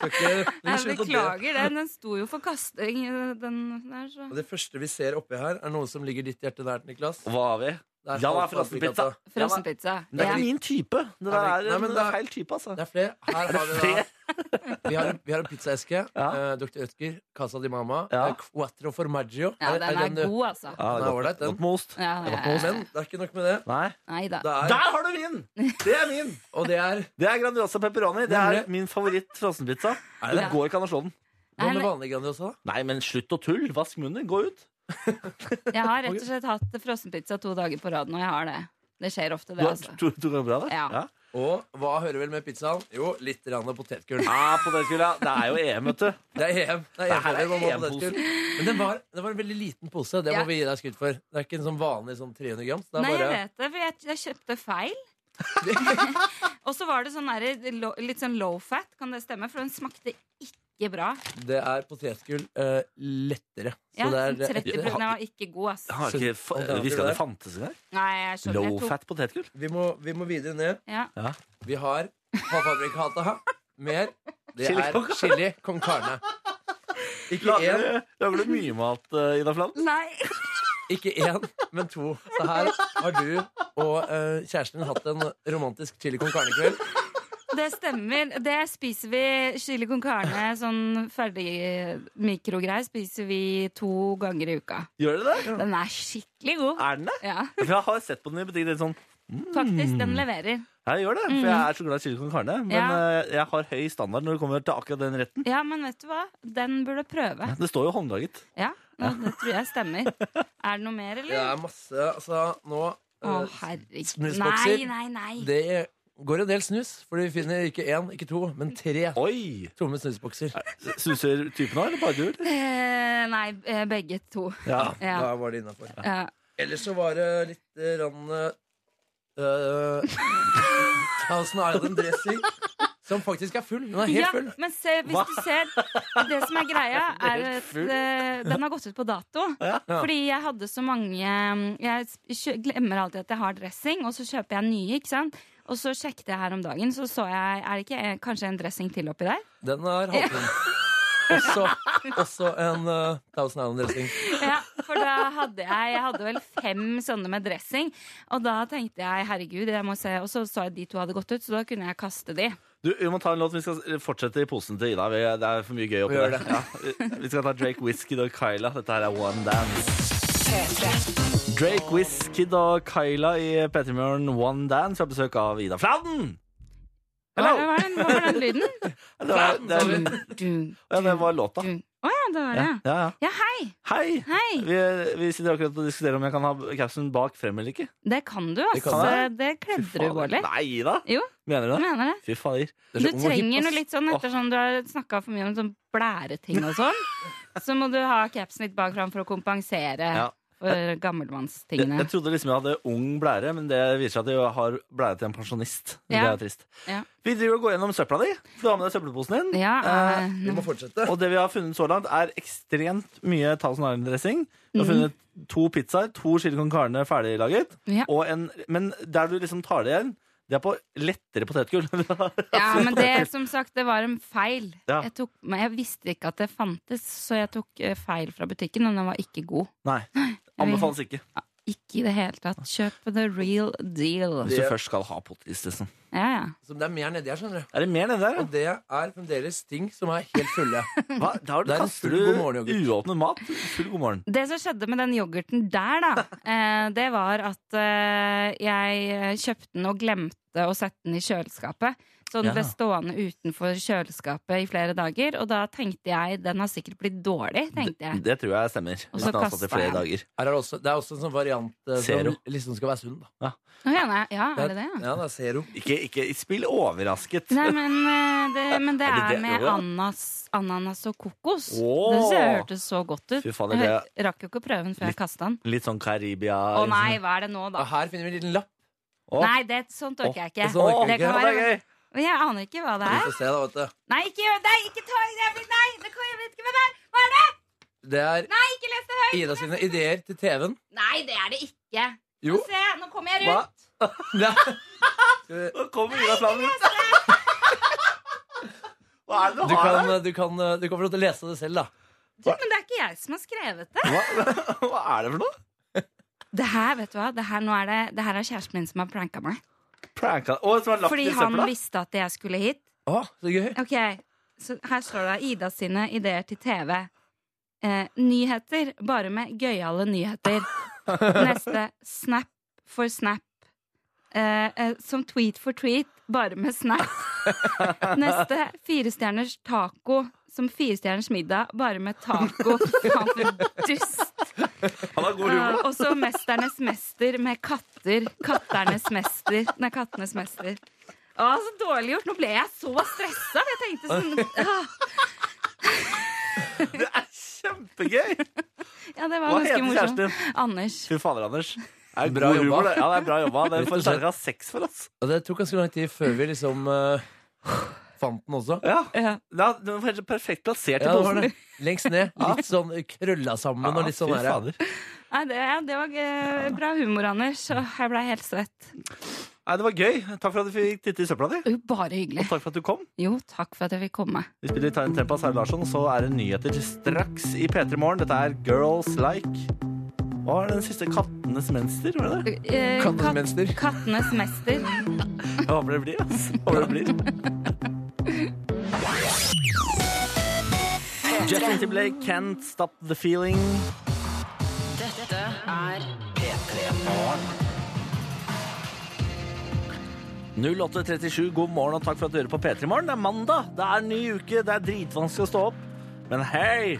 Skal ikke
Nei,
legge skjul på det.
Beklager den. Den sto jo for kasting. Den der, så.
Og det første vi ser oppi her, er noe som ligger ditt hjerte nært, Niklas.
Hva har vi?
Det
Ja, det er
Falklandsbrikata.
frossenpizza.
Frossenpizza.
Men Det er
Ja.
ikke min type. Det der
Nei,
er,
men- nei, men
det er
det
feil type, altså.
Det er flere. Her har vi,
Flere?
da. vi har en, vi har en pizzaeske.
Ja.
Eh, Dr. Ødger, Casa di Mama.
Ja.
Det er Quattro formaggio.
ja,
Er- er
den
den,
er
eh,
god, altså.
Ja,
Den er ålreit, den.
godt med ost.
Ja, ja, ja.
Men det er ikke nok med det.
Nei.
Nei da.
Det er,
Der har du min! Det er min.
og det er
Det er Grandiosa pepperoni. Det
Nemlig.
er min favoritt-frossenpizza.
det?
Det går ikke an å slå den.
Hva med
men-
vanlig Grandiosa? da?
Nei, men slutt å tulle. Vask munnen. Gå ut.
Jeg har rett og slett hatt frossenpizza to dager på rad nå. Jeg har det. Det skjer ofte,
Du
det.
har,
altså
tror du det går bra, det?
Ja.
Og hva hører vel med pizzaen? Jo, litt rann av potetgull.
Ah, Ja, på den skuldra. Det er jo EM, vet du.
Det er EM. Det
Det
er
her er
EM man må ha
EM-posen.
potetgull. Men den var, den var en veldig liten pose. Det
Ja.
må vi gi deg skudd for. Det er ikke en sånn vanlig sånn 300 grams. Det er
Nei, jeg
bare
vet det, for jeg, jeg kjøpte feil. og så var det sånn der, lo- litt sånn low fat, kan det stemme? For den smakte ikke bra.
Det er potetgull eh, lettere.
Ja,
det
sånn
er,
30 Den var ikke god, ass.
Jeg har ikke, fa- jeg visste ikke at det fantes engang.
Nei, jeg skjønner. Jeg tok,
Low-fat potetgull.
vi, må, vi må videre ned.
ja.
Vi har halvfabrikata her. Mer. Det
Chili
er
con carne.
chili con carne. Ikke
Lager
én,
du- Lager du mye mat, eh, Ida Flam?
Nei.
ikke én, men to. Så her har du og eh, kjæresten din hatt en romantisk chili con carne-kveld.
Det stemmer. Det spiser vi chili con carne, sånn ferdig mikrogreier, spiser vi to ganger i uka.
Gjør du det?
Den er skikkelig god.
Er den det?
Ja,
For jeg har sett på den i butikken. litt Sånn,
faktisk.
Mm.
Den leverer.
ja, jeg gjør det, for jeg er så glad i chili con carne. Men
Ja.
eh, jeg har høy standard når det kommer til akkurat den retten.
Ja, men vet du hva? Den burde prøve.
Det står jo håndlaget.
Ja, det tror jeg stemmer. Er det noe mer,
Det
eller?
er masse Altså, nå eh,
Å, herregud. Nei,
snusbokser.
nei, nei.
Det går en del snus, for vi finner ikke én, ikke to, men tre
Oi!
tomme snusbokser.
Suser typen òg, eller bare du? eller?
Eh, nei, eh, begge to.
Ja.
Ja.
Da var det innafor.
Ja.
Ellers så var det litt eh, rann uh, Thousand Island dressing, som faktisk er full. Den er helt
ja,
full.
men se, hvis du ser Det som er greia, er at eh, den har gått ut på dato. Fordi jeg hadde så mange mm, Jeg kjø- glemmer alltid at jeg har dressing, og så kjøper jeg nye. ikke sant? Og så sjekket jeg her om dagen, så så jeg Er det ikke eh, kanskje en dressing til oppi der?
Den er halvfull. Også, også en eh, Thousand Island dressing.
Ja, for da hadde jeg Jeg hadde vel fem sånne med dressing. Og da tenkte jeg herregud, jeg må se. Og så så jeg de to hadde gått ut, så da kunne jeg kaste de.
Du, Vi må ta en låt. Vi skal fortsette i posen til Ida. Vi- Det er for mye gøy oppi
Vi gjør
der.
det.
Ja. Vi skal ta Drake Whisky og Kyla. Dette her er One Dance. Drake Whisky og Kyla i P3 Morgen One Dance har besøk av Ida Fladen!
Hva
Hello!
var den, hva var den lyden?
Det var, det, er-
Du,
ja, det var låta.
du. Å ja, det var det.
Ja, ja.
Ja, hei!
Hei!
Hei!
Vi, vi sitter akkurat og diskuterer om jeg kan ha capsen bak frem eller ikke.
Det kan du,
Det
altså.
kan
Det, kledde du, Bårdli.
Nei, Ida!
Jo.
Mener du
Jeg
det?
mener det.
Fy fader.
Det
Du
er så ung og hipp,
trenger
ass.
noe litt sånn ettersom du har snakka for mye om sånn blæreting og sånn. Så må du ha capsen litt bak fram for å kompensere
Ja.
for gammelmannstingene.
Jeg trodde liksom jeg hadde ung blære, men det viser seg at jeg har blære til en pensjonist. Det
Ja.
er trist.
Ja.
Vi driver og går gjennom søpla di, for du har med deg søppelposen din.
Ja,
Eh,
eh,
Vi må fortsette.
og det vi har funnet så langt, er ekstremt mye Thousand Island-dressing. Vi
Mhm.
har funnet to pizzaer, to chili con carne ferdiglaget,
Ja.
og en, men der du liksom tar det igjen, det er på lettere potetgull.
Ja, men det som sagt, det var en feil.
Ja.
Jeg, tok, men jeg visste ikke at det fantes, så jeg tok eh, feil fra butikken, og den var ikke god.
Nei, anbefales ikke.
Ikke i det hele tatt. Kjøp the real deal.
Hvis du først skal ha potis, liksom.
Ja, ja.
Som det er mer nedi her, skjønner du.
Er det mer nedi der?
Og det er fremdeles ting som er helt
ja?
fulle.
Hva? Da har du
Det er en
kaster
full
du
god morgen-yoghurt.
uåpnet mat. Full god morgen.
Det som skjedde med den yoghurten der, da, eh, det var at eh, jeg kjøpte den og glemte å sette den i kjøleskapet. Så den
Ja.
ble stående utenfor kjøleskapet i flere dager, og da tenkte jeg den har sikkert blitt dårlig, tenkte jeg.
Det tror jeg stemmer.
Og
Hvis
så
den har stått i
kastet
flere
jeg den.
dager.
Her er det, også, det er også en sånn variant eh,
Zero.
som liksom skal være sunn. da
Nå mener jeg- Ja, er det det? ja?
Ja, det er zero.
Ikke, ikke spill overrasket.
Nei, men eh, det, men det
Er det
er
det
med
ordet, da?
ananas, ananas og kokos.
Åh!
Det ser- hørtes så godt ut.
Fy fader,
jeg
det-
hø- rakk jo ikke å prøve den før jeg kasta den.
Litt sånn Karibia
Å nei, hva er det nå,
Og
da?
her finner vi en liten lapp.
Å.
Nei, det, sånt orker jeg ikke.
Åh, sånn orker
det
jeg
kan
ikke.
det
være,
er gøy!
men jeg aner ikke hva det
Vi
er.
får se, da, vet du.
Nei, ikke gjør Nei, ikke ta jeg vil- Nei, det kan, jeg vet ikke hva det er! Hva er det?
Det er
Nei, ikke les det høyt!
Ida sine ideer til TV-en.
Nei, det er det ikke.
Jo.
Se, nå kommer jeg
Hva?
rundt.
Nei.
Nå kommer Ida Flammen ut. Hva er det
Du kan, eh, du, kan, du kan få lov til å lese det selv, da.
Du, men det er ikke jeg som har skrevet det.
Hva, hva er det for noe?
Det her, vet du hva? Det her, nå er, det, det her er kjæresten min som har pranka meg.
Pranka. Å, som er lagt
Fordi
i
han
søpla?
visste at jeg skulle hit.
Å, så gøy.
Ok, så her står det Ida sine ideer til TV. Eh, nyheter, bare med gøyale nyheter. Neste Snap for Snap. Eh, eh, som tweet for tweet, bare med Snap. Neste Firestjerners taco. Som firestjerners middag, bare med taco. Faen, for dust!
Han har god humor.
Eh, og så Mesternes mester med katter. Katternes mester. Nei, Kattenes mester. Å, så dårlig gjort. Nå ble jeg så stressa. Jeg tenkte sånn ah,
Det er kjempegøy!
Ja, det var
Hva
ganske
heter kjæresten
morsomt.
din?
Anders.
Fy fader, Anders. Det er
Bra
god humor,
jobba.
det. Ja, det er bra jobba. Den
Rett og
får
slett.
terningkast seks for oss.
Og det tok ganske lang tid før vi liksom eh, fant den også.
Ja.
Ja.
Ja, den var helt perfekt plassert i
Ja, det var
posen.
det. Lengst ned. Litt sånn krølla sammen og litt sånn
fy
der.
fader.
Nei, det, ja, det var eh, bra humor, Anders. Og jeg blei helt svett.
Nei, det var gøy. Takk for at du fikk titte i søpla di.
Jo, bare hyggelig.
Og takk for at du kom.
Jo, takk for at jeg fikk komme.
Vi spiller Ta en Tempas her, Larsson, og så er det nyheter straks i P3 Morgen. Dette er Girls Like. Hva er den siste Kattenes Menster? Var det det?
Eh,
Kattenes
katt-
mester.
Kattenes mester.
Jeg håper det blir, ass. Håper det blir. Justin Timberlake, Can't Stop The Feeling.
Dette er
P3-morgen.
08.37, god morgen og takk for at du hører på P3 Morgen. Det er mandag, det er ny uke, det er dritvanskelig å stå opp. Men hei!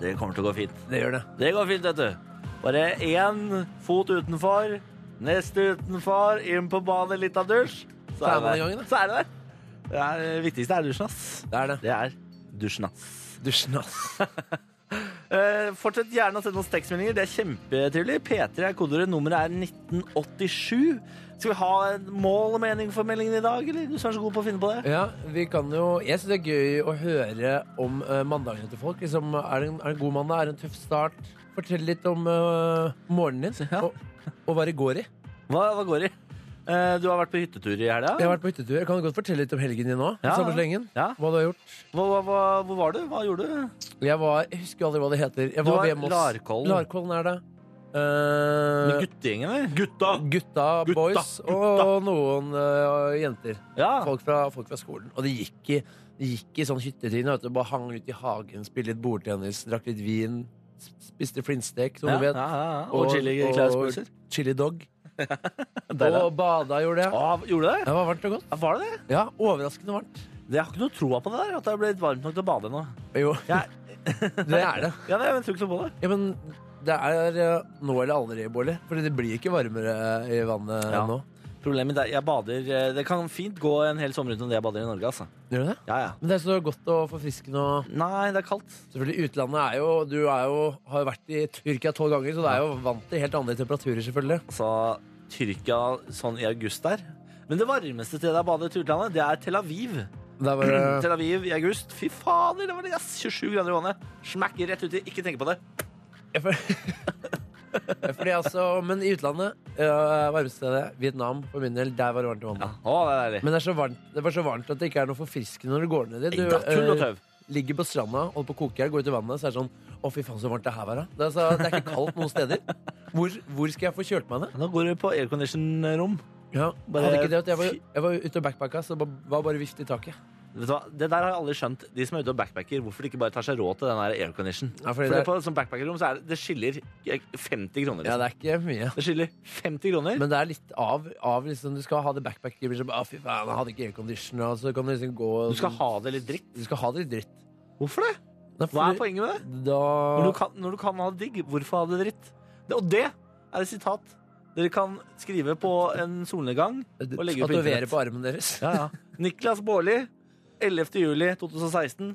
Det kommer til å gå fint.
Det gjør det.
Det går fint, vet du. Bare én fot utenfor, neste utenfor, inn på badet, litt av dusj. Så
Så er
er det
man i gang,
der.
da.
Så er det der. Det, er, det viktigste er dusjen, ass.
Det er det.
Det er dusjen, ass.
Dusjen, ass.
Eh, fortsett gjerne å sende oss tekstmeldinger. Det er kjempetrivelig. P3 er kodeordet. Nummeret er 1987. Skal vi ha et mål og mening for meldingen i dag, eller? Du som er så god på å finne på det.
Ja, vi kan jo Jeg syns det er gøy å høre om eh, mandagene til folk. Liksom, er, det en, er det en god mandag? Er det en tøff start? Fortell litt om eh, morgenen din.
Ja.
Og, og hva det går i.
Hva, hva går i? Eh, du har vært på hyttetur i helga.
Jeg har vært på hyttetur. Jeg kan godt fortelle litt om helgen din nå.
Ja,
samme
ja.
slengen.
Ja.
Hva du har gjort.
Hva, hva, hva, hvor var du? Hva gjorde du?
Jeg var Jeg husker jo aldri hva det heter. Jeg
Du
var
var
ved Moss.
Larkollen.
Larkollen er det.
Med
Eh,
guttegjengen, eller? Gutta!
gutta,
Gutta,
boys, og noen eh, jenter.
Ja.
Folk fra, folk fra skolen. Og de gikk i, de gikk i sånn hyttetryne. vet du, Bare hang ut i hagen, spilte litt bordtennis, drakk litt vin, s- spiste flintstek, som
Ja,
du vet.
ja, ja, ja. Og chili klauspølser.
chili dog.
Deilig. Ah.
Og bada gjorde jeg.
Å, Gjorde du det?
Det var varmt og godt.
Ja, Var det det?
Ja, Overraskende varmt.
Det- Jeg har ikke noe troa på det der, at det har blitt varmt nok til å bade ennå.
Jo,
Ja.
det er det.
Ja, det- jeg tror ikke noe på det.
Ja, men det er eh, nå eller aldri, Bårdli. For det blir ikke varmere i vannet
Ja.
nå.
Problemet er jeg bader eh, Det kan fint gå en hel sommer uten at jeg bader i Norge, altså.
Gjør du det?
Ja, ja.
Men det er så godt å forfriske noe
Nei, det er kaldt.
Selvfølgelig, utlandet er jo Du er jo, har jo vært i Tyrkia tolv ganger, så du er jo vant til helt andre temperaturer, selvfølgelig.
Altså Tyrkia sånn i august der. Men det varmeste stedet jeg badet i utlandet, det er Tel Aviv.
Det er bare
Tel Aviv i august. Fy fader, det var det, ass. 27 grader i vannet. Smakk rett uti. Ikke tenke på det.
Jeg føl- Jeg føler altså, Men i utlandet, øh, varmestedet, Vietnam for min del, der var det varmt i
Ja,
vannet.
å, det er deilig.
Men det, er så varmt, det var så varmt at det ikke er noe forfriskende når du går ned dit. Du
Nei da, tull og
øh,
tøv.
ligger på stranda, holder på å koke i hjel, går ut i vannet, så er det sånn Å, fy faen, så varmt det her var, da. Det er, altså, det er ikke kaldt noen steder. Hvor, hvor skal jeg få kjølt meg ned?
Nå går du på aircondition-rom.
Ja,
Bare-
hadde ikke det at jeg var, jeg var ute og backpacka, så det ba- var bare vift i taket.
Vet du hva? Det der har jeg aldri skjønt. De som er ute og backpacker, hvorfor de ikke bare tar seg råd til den der aircondition?
Ja,
For
fordi
det
det,
er på et sånt backpackerrom så er det, det skiller 50 kroner.
ja,
Liksom.
det er ikke mye.
Det skiller 50 kroner.
Men det er litt av, av liksom, du skal ha det backpack-gibbelet som «Å, Fy faen, jeg hadde ikke aircondition. Og så kan du liksom gå
Du skal ha det litt dritt.
Du skal ha det litt dritt.
Hvorfor det?
Nei,
Hva er
for-
poenget med det?
Da
Når du kan, når du kan ha det digg, hvorfor ha det dritt? Det, og det er et sitat dere kan skrive på en solnedgang. og legger på
Tatovere
internett.
på armen deres.
Ja, ja. Niklas Baarli, 11. juli 2016.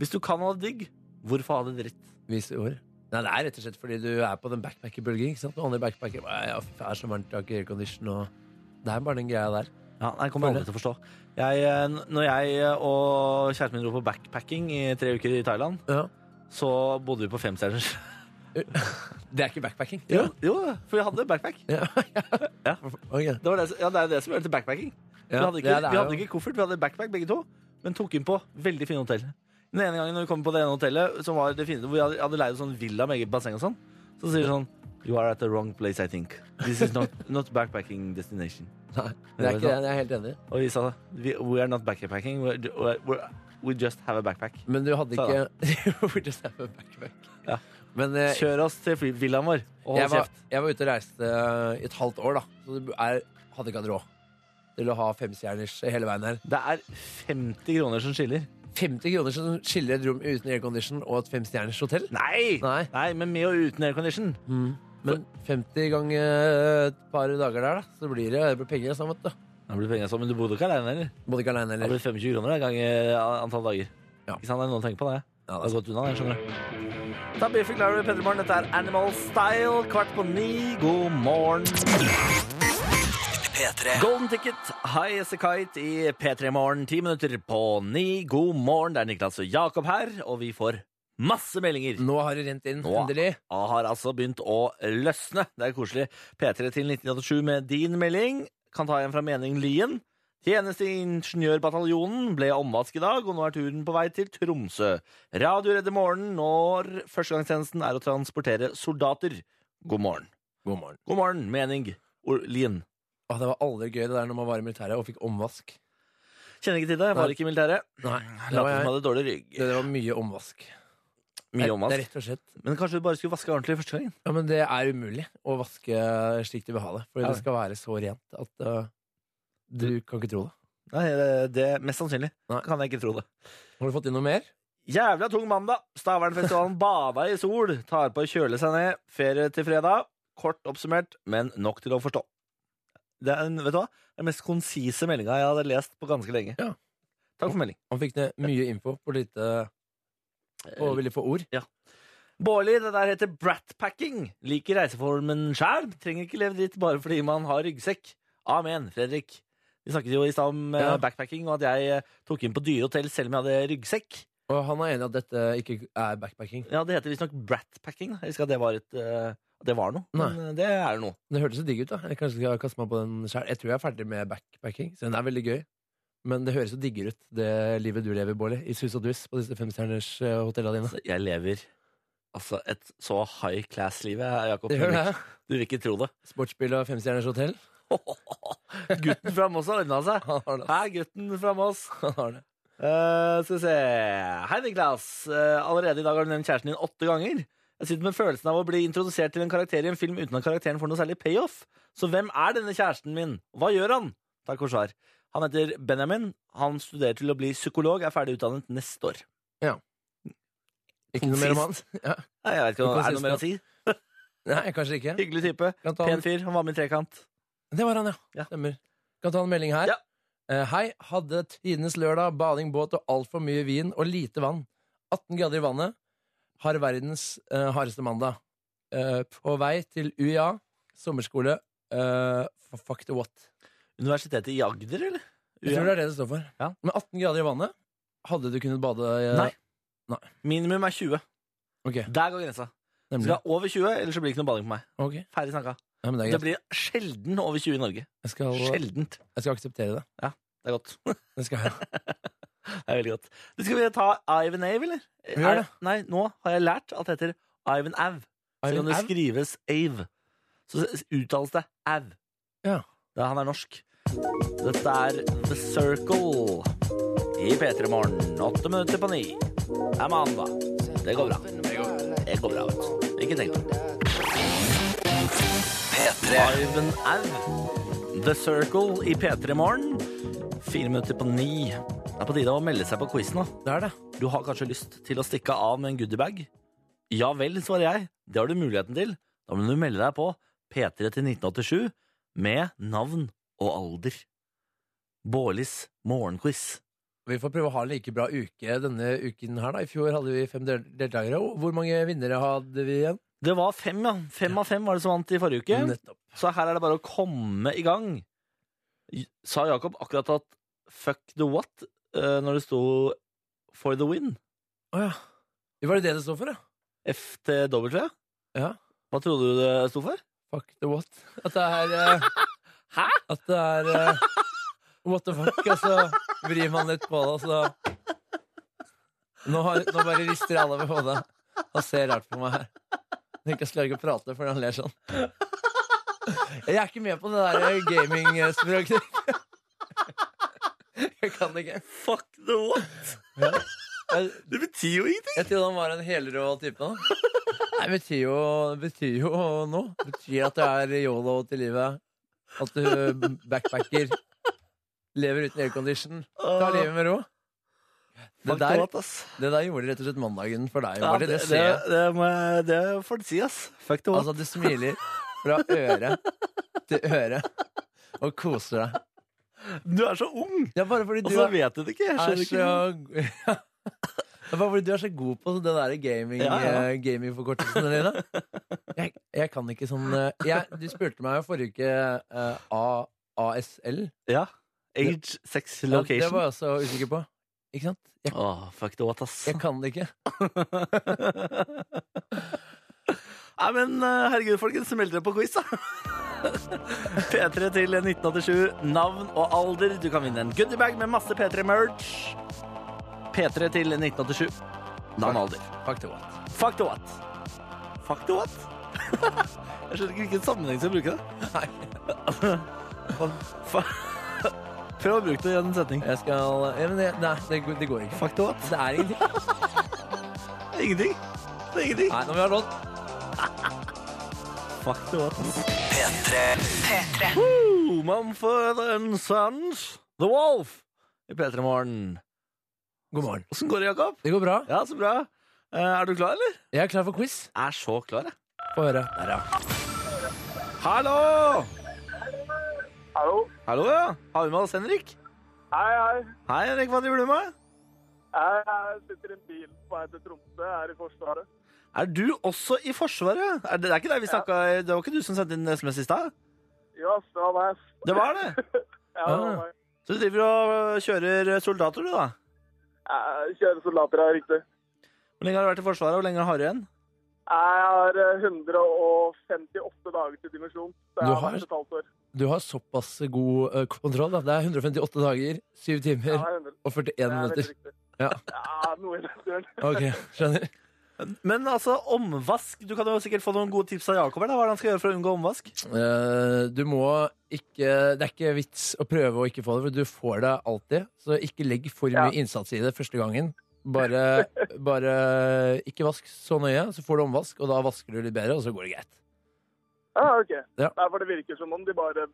Hvis du kan ha det digg, hvorfor ha det dritt?
Vis ord. Nei, det er rett og slett fordi du er på den backpacker-bølgen. ikke sant? Og andre backpacker «Å, ja, fy faen, det er så varmt, jeg har ikke aircondition. Og det er bare den greia der.
Ja, nei, jeg kommer aldri til å forstå. Jeg, eh, når jeg og kjæresten min dro på backpacking i tre uker i Thailand,
Ja.
så bodde vi på femstjerners.
Det er ikke backpacking.
Jo, jo, for vi hadde backpack.
Ja.
Ja.
Ok. Ja,
Det, var det, som- ja, det er jo det som gjør det til backpacking. Vi hadde, ikke,
det er- det er
vi hadde
jo-
ikke koffert, vi hadde backpack begge to, men tok inn på veldig fine hotell. Den ene gangen når vi kom på det ene hotellet, som var det fine, hvor vi hadde, hadde leid en sånn villa med eget basseng og sånn, så sier de sånn You are at the wrong place, I think. This is not, not backpacking destination.
Nei, det er ikke det. Jeg er helt enig.
Og vi sa "We- We are not backpacking, we're, we're, we're, we just have a backpack.
Men du hadde
Så
ikke Hvor det stemmer med backpack.
Ja.
Men eh,
Kjør oss til fly- villaen vår og
jeg
hold
var,
kjeft.
jeg var ute og reiste eh, i et halvt år, da. Så du er, hadde ikke hatt råd til å ha femstjerners hele veien her.
Det er 50 kroner som skiller.
50 kroner som skiller et rom uten aircondition og et femstjerners hotell.
Nei! Nei,
Nei, Mm.
men med og uten aircondition.
men 50 ganger et par dager der, da, så blir det, det blir penger altså, sammen. Da.
Det blir penger sånn, men du bodde ikke alene, eller?
Bodde ikke aleine
Det
heller.
blir 25 kroner da, ganger antall dager.
Ja.
Ikke sant, det er noe å tenke på det.
Ja,
Det har
det er sant.
gått unna, det, skjønner du. Da blir vi klare, Petter Morgen. Dette er Animal Style, kvart på ni. God morgen.
P3.
Golden Ticket, High As A Kite i P3 Morgen. Ti minutter på ni. God morgen, det er Niklas og Jakob her, og vi får masse meldinger.
Nå har det rent inn,
Nå-
endelig.
Jeg har altså begynt å løsne. Det er koselig. P3 til 1987 med din melding. Kan ta en fra Mening Lien. Tjeneste i Ingeniørbataljonen ble omvask i dag, og nå er turen på vei til Tromsø. Radio redder morgenen når førstegangstjenesten er å transportere soldater. God morgen.
God morgen.
God morgen, Mening O- Lien.
Å, det var aldri gøy det der når man var i militæret og fikk omvask.
Kjenner ikke til det. Jeg var
Nei.
ikke i militæret.
Nei, det
Lot
var,
som jeg
jeg.
hadde dårlig rygg.
Det, det var mye omvask.
Mye
Det er
omvask.
rett og slett
Men kanskje du bare skulle vaske ordentlig første gangen?
Ja, men det er umulig å vaske slik du vil ha det. For
Ja.
det skal være så rent at øh, du kan ikke tro det.
Nei, det, det mest sannsynlig.
Nei.
Kan jeg ikke tro det.
Har du fått inn noe mer?
Jævla tung mandag. Stavernfestivalen bada i sol. Tar på å kjøle seg ned. Ferie til fredag. Kort oppsummert, men nok til å forstå. Det er en, vet du hva? Den mest konsise meldinga jeg hadde lest på ganske lenge.
Ja.
Takk for melding.
Han fikk ned mye info på lite Eh, og ville få ord.
Bårli, det der heter bratpacking. Liker reiseformen sjæl. Trenger ikke leve dritt bare fordi man har ryggsekk. Amen, Fredrik. Vi snakket jo i stad om eh,
Ja.
backpacking, og at jeg eh, tok inn på dyrehotell selv om jeg hadde ryggsekk.
Og han er enig i at dette ikke er backpacking.
Ja, det heter visstnok bratpacking. da. Jeg husker at det var, et, eh, at det var noe. Men eh, det er noe.
Det hørtes så digg ut, da. Jeg kanskje skal kaste meg på den selv. Jeg tror jeg er ferdig med backpacking. Så den er veldig gøy. Men det høres så diggere ut, det livet du lever, Bårli. I sus og dus på disse femstjerners øh, hotellene dine.
Altså, jeg lever altså, et så high class-liv, jeg, Jakob.
Det gjør det.
Du vil ikke tro det.
Sportsbil og femstjerners hotell.
gutten fra Moss har ordna seg.
Han har det,
Hei, gutten fra Moss.
ass. Han har det.
Eh, skal vi se Hei, Niklas. Eh, allerede i dag har du nevnt kjæresten din åtte ganger. Jeg sitter med følelsen av å bli introdusert til en karakter i en film uten at karakteren får noe særlig payoff. Så hvem er denne kjæresten min? Hva gjør han? Takk for svar. Han heter Benjamin. Han studerer til å bli psykolog, er ferdig utdannet neste år.
Ikke noe mer om han? Ja.
Nei, jeg vet ikke, Er det noe mer å si?
Nei, kanskje ikke.
Hyggelig type.
Kan ta han
Pen fyr. Han var med i Trekant.
Det var han, ja.
Ja.
Stemmer. Kan ta en melding her.
Ja.
Eh, hei. Hadde tidenes lørdag, bading, båt og altfor mye vin og lite vann. 18 grader i vannet. Har verdens eh, hardeste mandag. Eh, på vei til UiA, sommerskole. Eh, f- fuck the what.
Universitetet i Agder, eller?
Jeg tror det er det det står for.
Ja.
Men 18 grader i vannet, hadde du kunnet bade eh,
Nei.
Nei.
Minimum er 20.
Ok,
Der går grensa. Skal
nemlig.
jeg over 20, ellers så blir det ikke noe bading på meg.
Ok,
Ferdig snakka.
Nei, men det er
Det
greit.
blir sjelden over 20 i Norge.
Jeg skal,
Sjeldent.
jeg skal akseptere det.
Det er godt.
Det skal jeg.
Det er veldig godt. Du skal vi ta Ivan Ave, eller?
gjør det.
Er- Nei, nå har jeg lært at det heter Ivan Av. Selv om
Ivan
det
Av?
skrives Ave, så s- uttales det Av.
Ja.
Ja, han er norsk. Dette er The Circle i P3 Morgen. Åtte minutter på ni. Det er mandag. Det går bra. Det går bra, vet du. Ikke tenk på det.
P3.
Ivan Av. The Circle i P3 Morgen. Fire minutter på ni. Det er på tide å melde seg på quizen, da.
Det er det.
Du har kanskje lyst til å stikke av med en goodiebag? Ja vel, svarer jeg. Det har du muligheten til. Da må du melde deg på P3 til 1987 med navn og alder. Bårlis morgenquiz.
Vi får prøve å ha en like bra uke denne uken her, da. I fjor hadde vi fem del deltakere. Og Hvor mange vinnere hadde vi igjen?
Det var fem, ja. Fem av fem var det som vant i forrige uke.
Nettopp.
Så her er det bare å komme i gang. J- Sa Jakob akkurat at fuck the what eh, når det sto for the win?
Å ja. Det var det det det står for, ja?
FTW?
Ja.
Hva trodde du det sto for?
Fuck the what? At det er eh,
Hæ?
At det er eh, What the fuck? Og så vrir man litt på det, og så nå, har, nå bare rister alle på hodet og ser rart på meg her. Jeg ikke klarer ikke å prate fordi han ler sånn. Jeg er ikke med på det der gamingspråket. Jeg kan ikke.
Fuck the what?
Jeg,
Det betyr jo ingenting!
Jeg trodde han var en helrå type. Da. Nei, det betyr jo, betyr jo noe. Det betyr at det er yolo til livet. At du backpacker. Lever uten aircondition. Ta livet med ro. Det
Fuck the
der,
what, ass.
det der gjorde rett og slett mandagen for deg.
Ja,
Var det, det, ser jeg.
det må jeg- det får du si, ass. Fuck the what.
Altså, du smiler fra øre til øre og koser deg.
du er så ung,
Det er bare fordi
og
du
så
er,
vet du det ikke. Jeg skjønner
så
ikke.
Det er bare fordi du er så god på det der gaming,
Ja, ja.
eh, gamingforkortelsene dine. Jeg, jeg kan ikke sånn eh, jeg, Du spurte meg jo forrige uke eh, A, ASL.
Ja. Age, sex,
Ja, Det
location.
var jeg også usikker på. Ikke sant? Jeg,
Åh, fuck the what, ass.
jeg kan det ikke.
Nei, men eh, herregud, folkens, meld dere på quiz, da. P3 til 1987. Navn og alder. Du kan vinne en goodiebag med masse P3-merch. P3 til 1987. Navn og alder.
Fuck the what.
Fuck the what? Fuck the what? jeg skjønner ikke hvilken sammenheng som bruker det. Fa- Prøv å bruke det i en setning.
Jeg skal ja, men det, Nei, det, går- det går ikke.
Fuck the what?
Det er ingenting.
Ingenting. Det er ingenting.
Nei, nå må vi ha låt.
Fuck the what.
P3.
Woo, Mumford and Sons, The Wolf, i P3 Morgen.
God morgen.
Åssen går det, Jakob?
Det går bra.
Ja, så bra. Eh, Er du klar, eller?
Jeg er klar for quiz.
Jeg er så klar, jeg.
Få høre. Der, ja.
Hallo!
Hallo.
Hallo, ja. Har vi med oss Henrik?
Hei, hei.
Hei, Henrik. Hva driver du med?
Jeg jeg sitter i en bil på vei til Tromsø. Jeg er i Forsvaret.
Er du også i Forsvaret? Er det, det er ikke der vi snakka Det var ikke du som sendte inn SMS i stad?
Ja, ass, det var meg. ass.
Det var det.
Ja, det var
Ah.
meg.
Så du driver og øh, kjører soldater, du, da?
Jeg kjører soldater, ja, riktig.
Hvor lenge har du vært i Forsvaret, og hvor lenge har du igjen?
Jeg har eh, 158 dager til dimensjon. Så jeg
Du
har
har-
vært et halvt år.
Du har såpass god eh, kontroll. Da. Det er 158 dager, 7
Ja,
timer
jeg er 100.
og 41
Det er
minutter.
helt riktig.
Ja.
Ja, noe i den duren.
Ok, skjønner.
Men altså, omvask. Du kan jo sikkert få noen gode tips av Jakob her. da, Hva er det han skal gjøre for å unngå omvask?
Eh, du må ikke Det er ikke vits å prøve å ikke få det, for du får det alltid. Så ikke legg for mye
Ja.
innsats i det første gangen. Bare, bare ikke vask så nøye, så får du omvask, og da vasker du litt bedre, og så går det greit.
Ja, ok.
Ja.
Derfor det virker som om de bare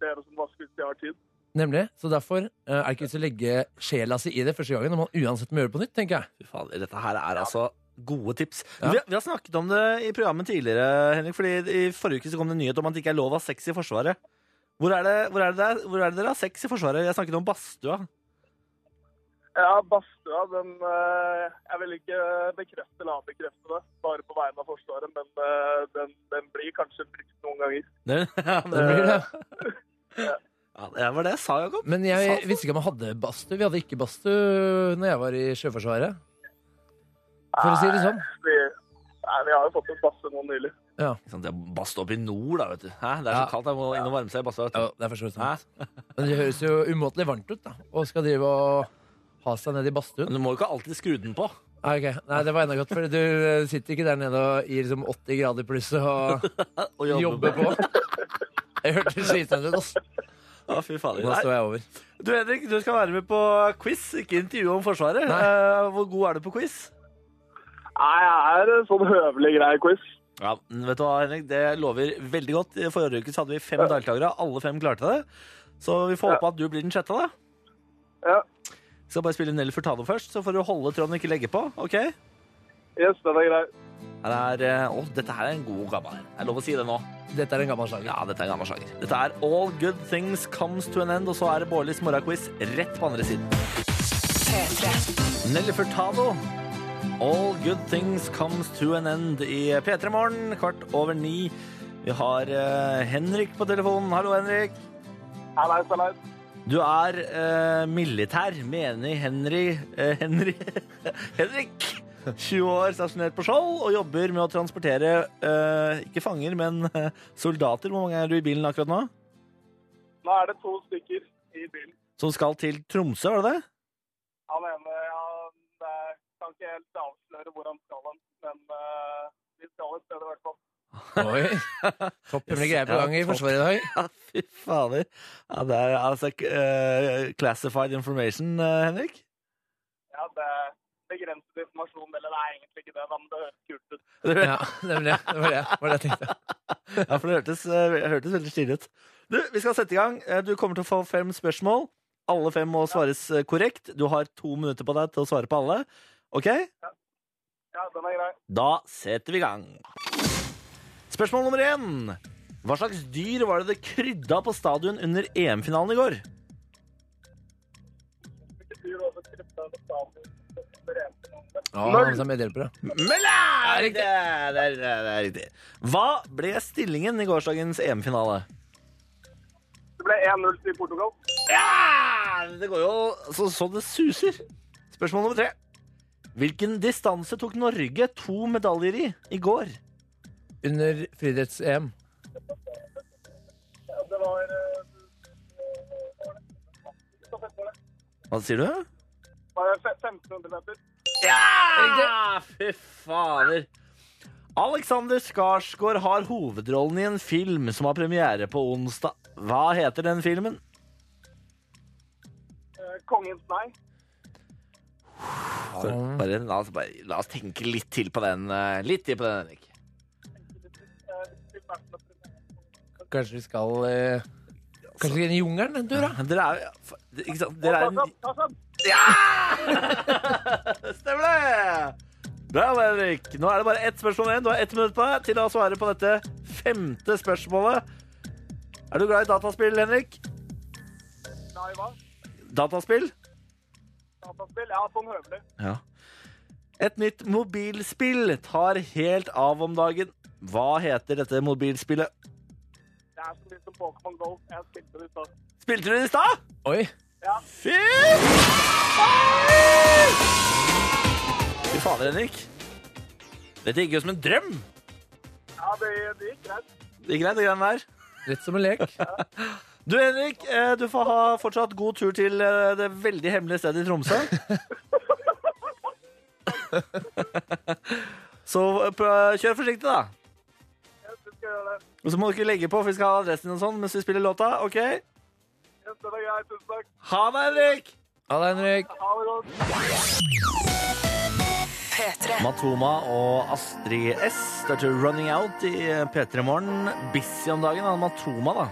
ber oss om vask hvis de har tid.
Nemlig. Så derfor eh, er det ikke vits å legge sjela si i det første gangen, når man uansett må gjøre det på nytt, tenker jeg.
Fy faen, dette her er altså gode tips.
Ja.
Vi, vi har snakket om det i programmet tidligere, Henrik. fordi i forrige uke så kom det en nyhet om at det ikke er lov å ha sex i Forsvaret. Hvor er, det, hvor, er det, der- hvor er det dere har sex i Forsvaret? Jeg snakket om badstua.
Ja, badstua, den eh, Jeg vil ikke bekrefte eller avbekrefte det, bare på vegne av Forsvaret, men eh, den, den blir kanskje brukt noen ganger.
Det, ja,
Det blir det.
Ja, det var det jeg sa, Jakob.
Men jeg visste ikke om man hadde badstue. Vi hadde ikke badstue når jeg var i Sjøforsvaret. For å si det sånn.
Vi, nei, vi har jo fått en badstue nå nylig.
Ikke sant, Det er badstua oppe i nord, da, vet du. Hæ? Det er
Ja.
så kaldt, jeg må inn og varme seg i badstua. vet du.
Ja, det er for så vidt
Hæ?
sant. Men det høres jo umåtelig varmt ut, da. Og skal drive og ha seg ned i badstuen.
Men du må jo ikke alltid skru den på.
Ah, ok. Nei, det var enda godt, for du eh, sitter ikke der nede og gir liksom 80 grader pluss og
Og
jobber på. Jeg hørte sliten ut, ass.
Ja, fy fader.
Nå
Nei,
står jeg over.
du Henrik, du skal være med på quiz, ikke intervju om Forsvaret. Eh, hvor god er du på quiz?
Nei, jeg er en sånn høvelig grei quiz.
Ja, vet du hva, Henrik, det lover veldig godt. I forrige uke så hadde vi fem deltakere. Alle fem klarte det. Så vi får håpe at du blir den sjette, da.
Ja.
Vi skal bare spille Nelly Furtado først, så får du holde tråden og ikke legge på. ok?
Yes, den er grei.
Her er, eh, å, dette her er en god gammel. Det er lov å si det nå.
Dette er en gammel slager.
Ja, dette er en gammel sjanger. Dette er All Good Things Comes to an End, og så er det Bårdlis morgenquiz rett på andre siden. Nelly Furtado. All Good Things Comes to an End i P3 Morgen, kvart over ni. Vi har eh, Henrik på telefonen. Hallo, Henrik.
Hallais, hallais.
Du er eh, militær, mener Henry eh, Henry Henrik! 20 år, stasjonert på Skjold, og jobber med å transportere eh, ikke fanger, men eh, soldater. Hvor mange er du i bilen akkurat nå?
Nå er det to stykker i bilen.
Som skal til Tromsø, var det det?
Han ene ja, det er- kan ikke helt avsløre hvor han skal hen, men eh, vi skal et sted i hvert fall.
Oi. Topp hemmelige greier på gang i
Ja, topp.
Forsvaret i dag.
Ja, fy fader. Ja, det er altså eh, classified information, eh, Henrik.
Ja, det er begrenset informasjon, eller det er egentlig ikke det, men det høres kult ut.
Ja, nemlig. Det var det, det, var det jeg tenkte.
Ja, for det hørtes, eh, hørtes veldig stilig ut. Du, vi skal sette i gang. Eh, Du kommer til å få fem spørsmål. Alle fem må svares eh, korrekt. Du har to minutter på deg til å svare på alle. Ok?
Ja, den er grei.
Da setter vi i gang. Spørsmål nummer én. Hva slags dyr var det det krydda på stadion under EM-finalen i går?
Ikke dyr over 13 stater.
Å, han har med seg medhjelpere.
Møller! Det er, det, er, det, er, det er riktig. Hva ble stillingen i gårsdagens EM-finale?
Det ble 1-0 til Portugal.
Ja! Det går jo så, så det suser. Spørsmål nummer tre. Hvilken distanse tok Norge to medaljer i i går?
Under friidretts-EM.
Ja, Det var eh, så fett var det.
Hva sier du?
Det var fe- 1500 meter.
Ja! Ah, Fy fader. Alexander Skarsgård har hovedrollen i en film som har premiere på onsdag. Hva heter den filmen?
Eh, Kongens nei.
Ah. Bare, la, oss, bare, la oss tenke litt til på den, eh, litt til på den, Henrik.
Eh, til verden og til-
Kanskje vi skal eh, Kanskje vi skal inn i jungelen en tur, da?
Dere er, ikke sant? Dere er
Tarzan, Tarzan.
Stemmer det! Bra, Henrik. Nå er det bare ett spørsmål igjen. Du har ett minutt på deg til å svare på dette femte spørsmålet. Er du glad i dataspill, Henrik?
Nei, hva?
Dataspill?
Dataspill? Ja, sånn høvelig.
Ja. Et nytt mobilspill tar helt av om dagen. Hva heter dette mobilspillet?
Det er så mye som Pokémon Go. Jeg spilte det ut av.
Spilte du det i stad?
Oi.
Fy faen! Fy fader, Henrik. Dette gikk jo som en drøm.
Ja, det, det gikk
Det gikk
greit.
greit, det greiene der.
Rett som en lek.
Du, Henrik, eh, du får ha fortsatt god tur til eh, det veldig hemmelige stedet i Tromsø. Så eh, prø- kjør forsiktig, da.
Jeg synes jeg skal gjøre det.
Og så må du ikke legge på, for vi skal ha adressen din og sånn mens vi spiller låta. ok?
Jeg synes det er greit. Tusen takk.
Ha det, Henrik!
Ha det, Henrik.
Ha det godt.
Matoma og Astrid S. Det er til Running Out i eh, P3 Morgen. Busy om dagen, han Matoma, da.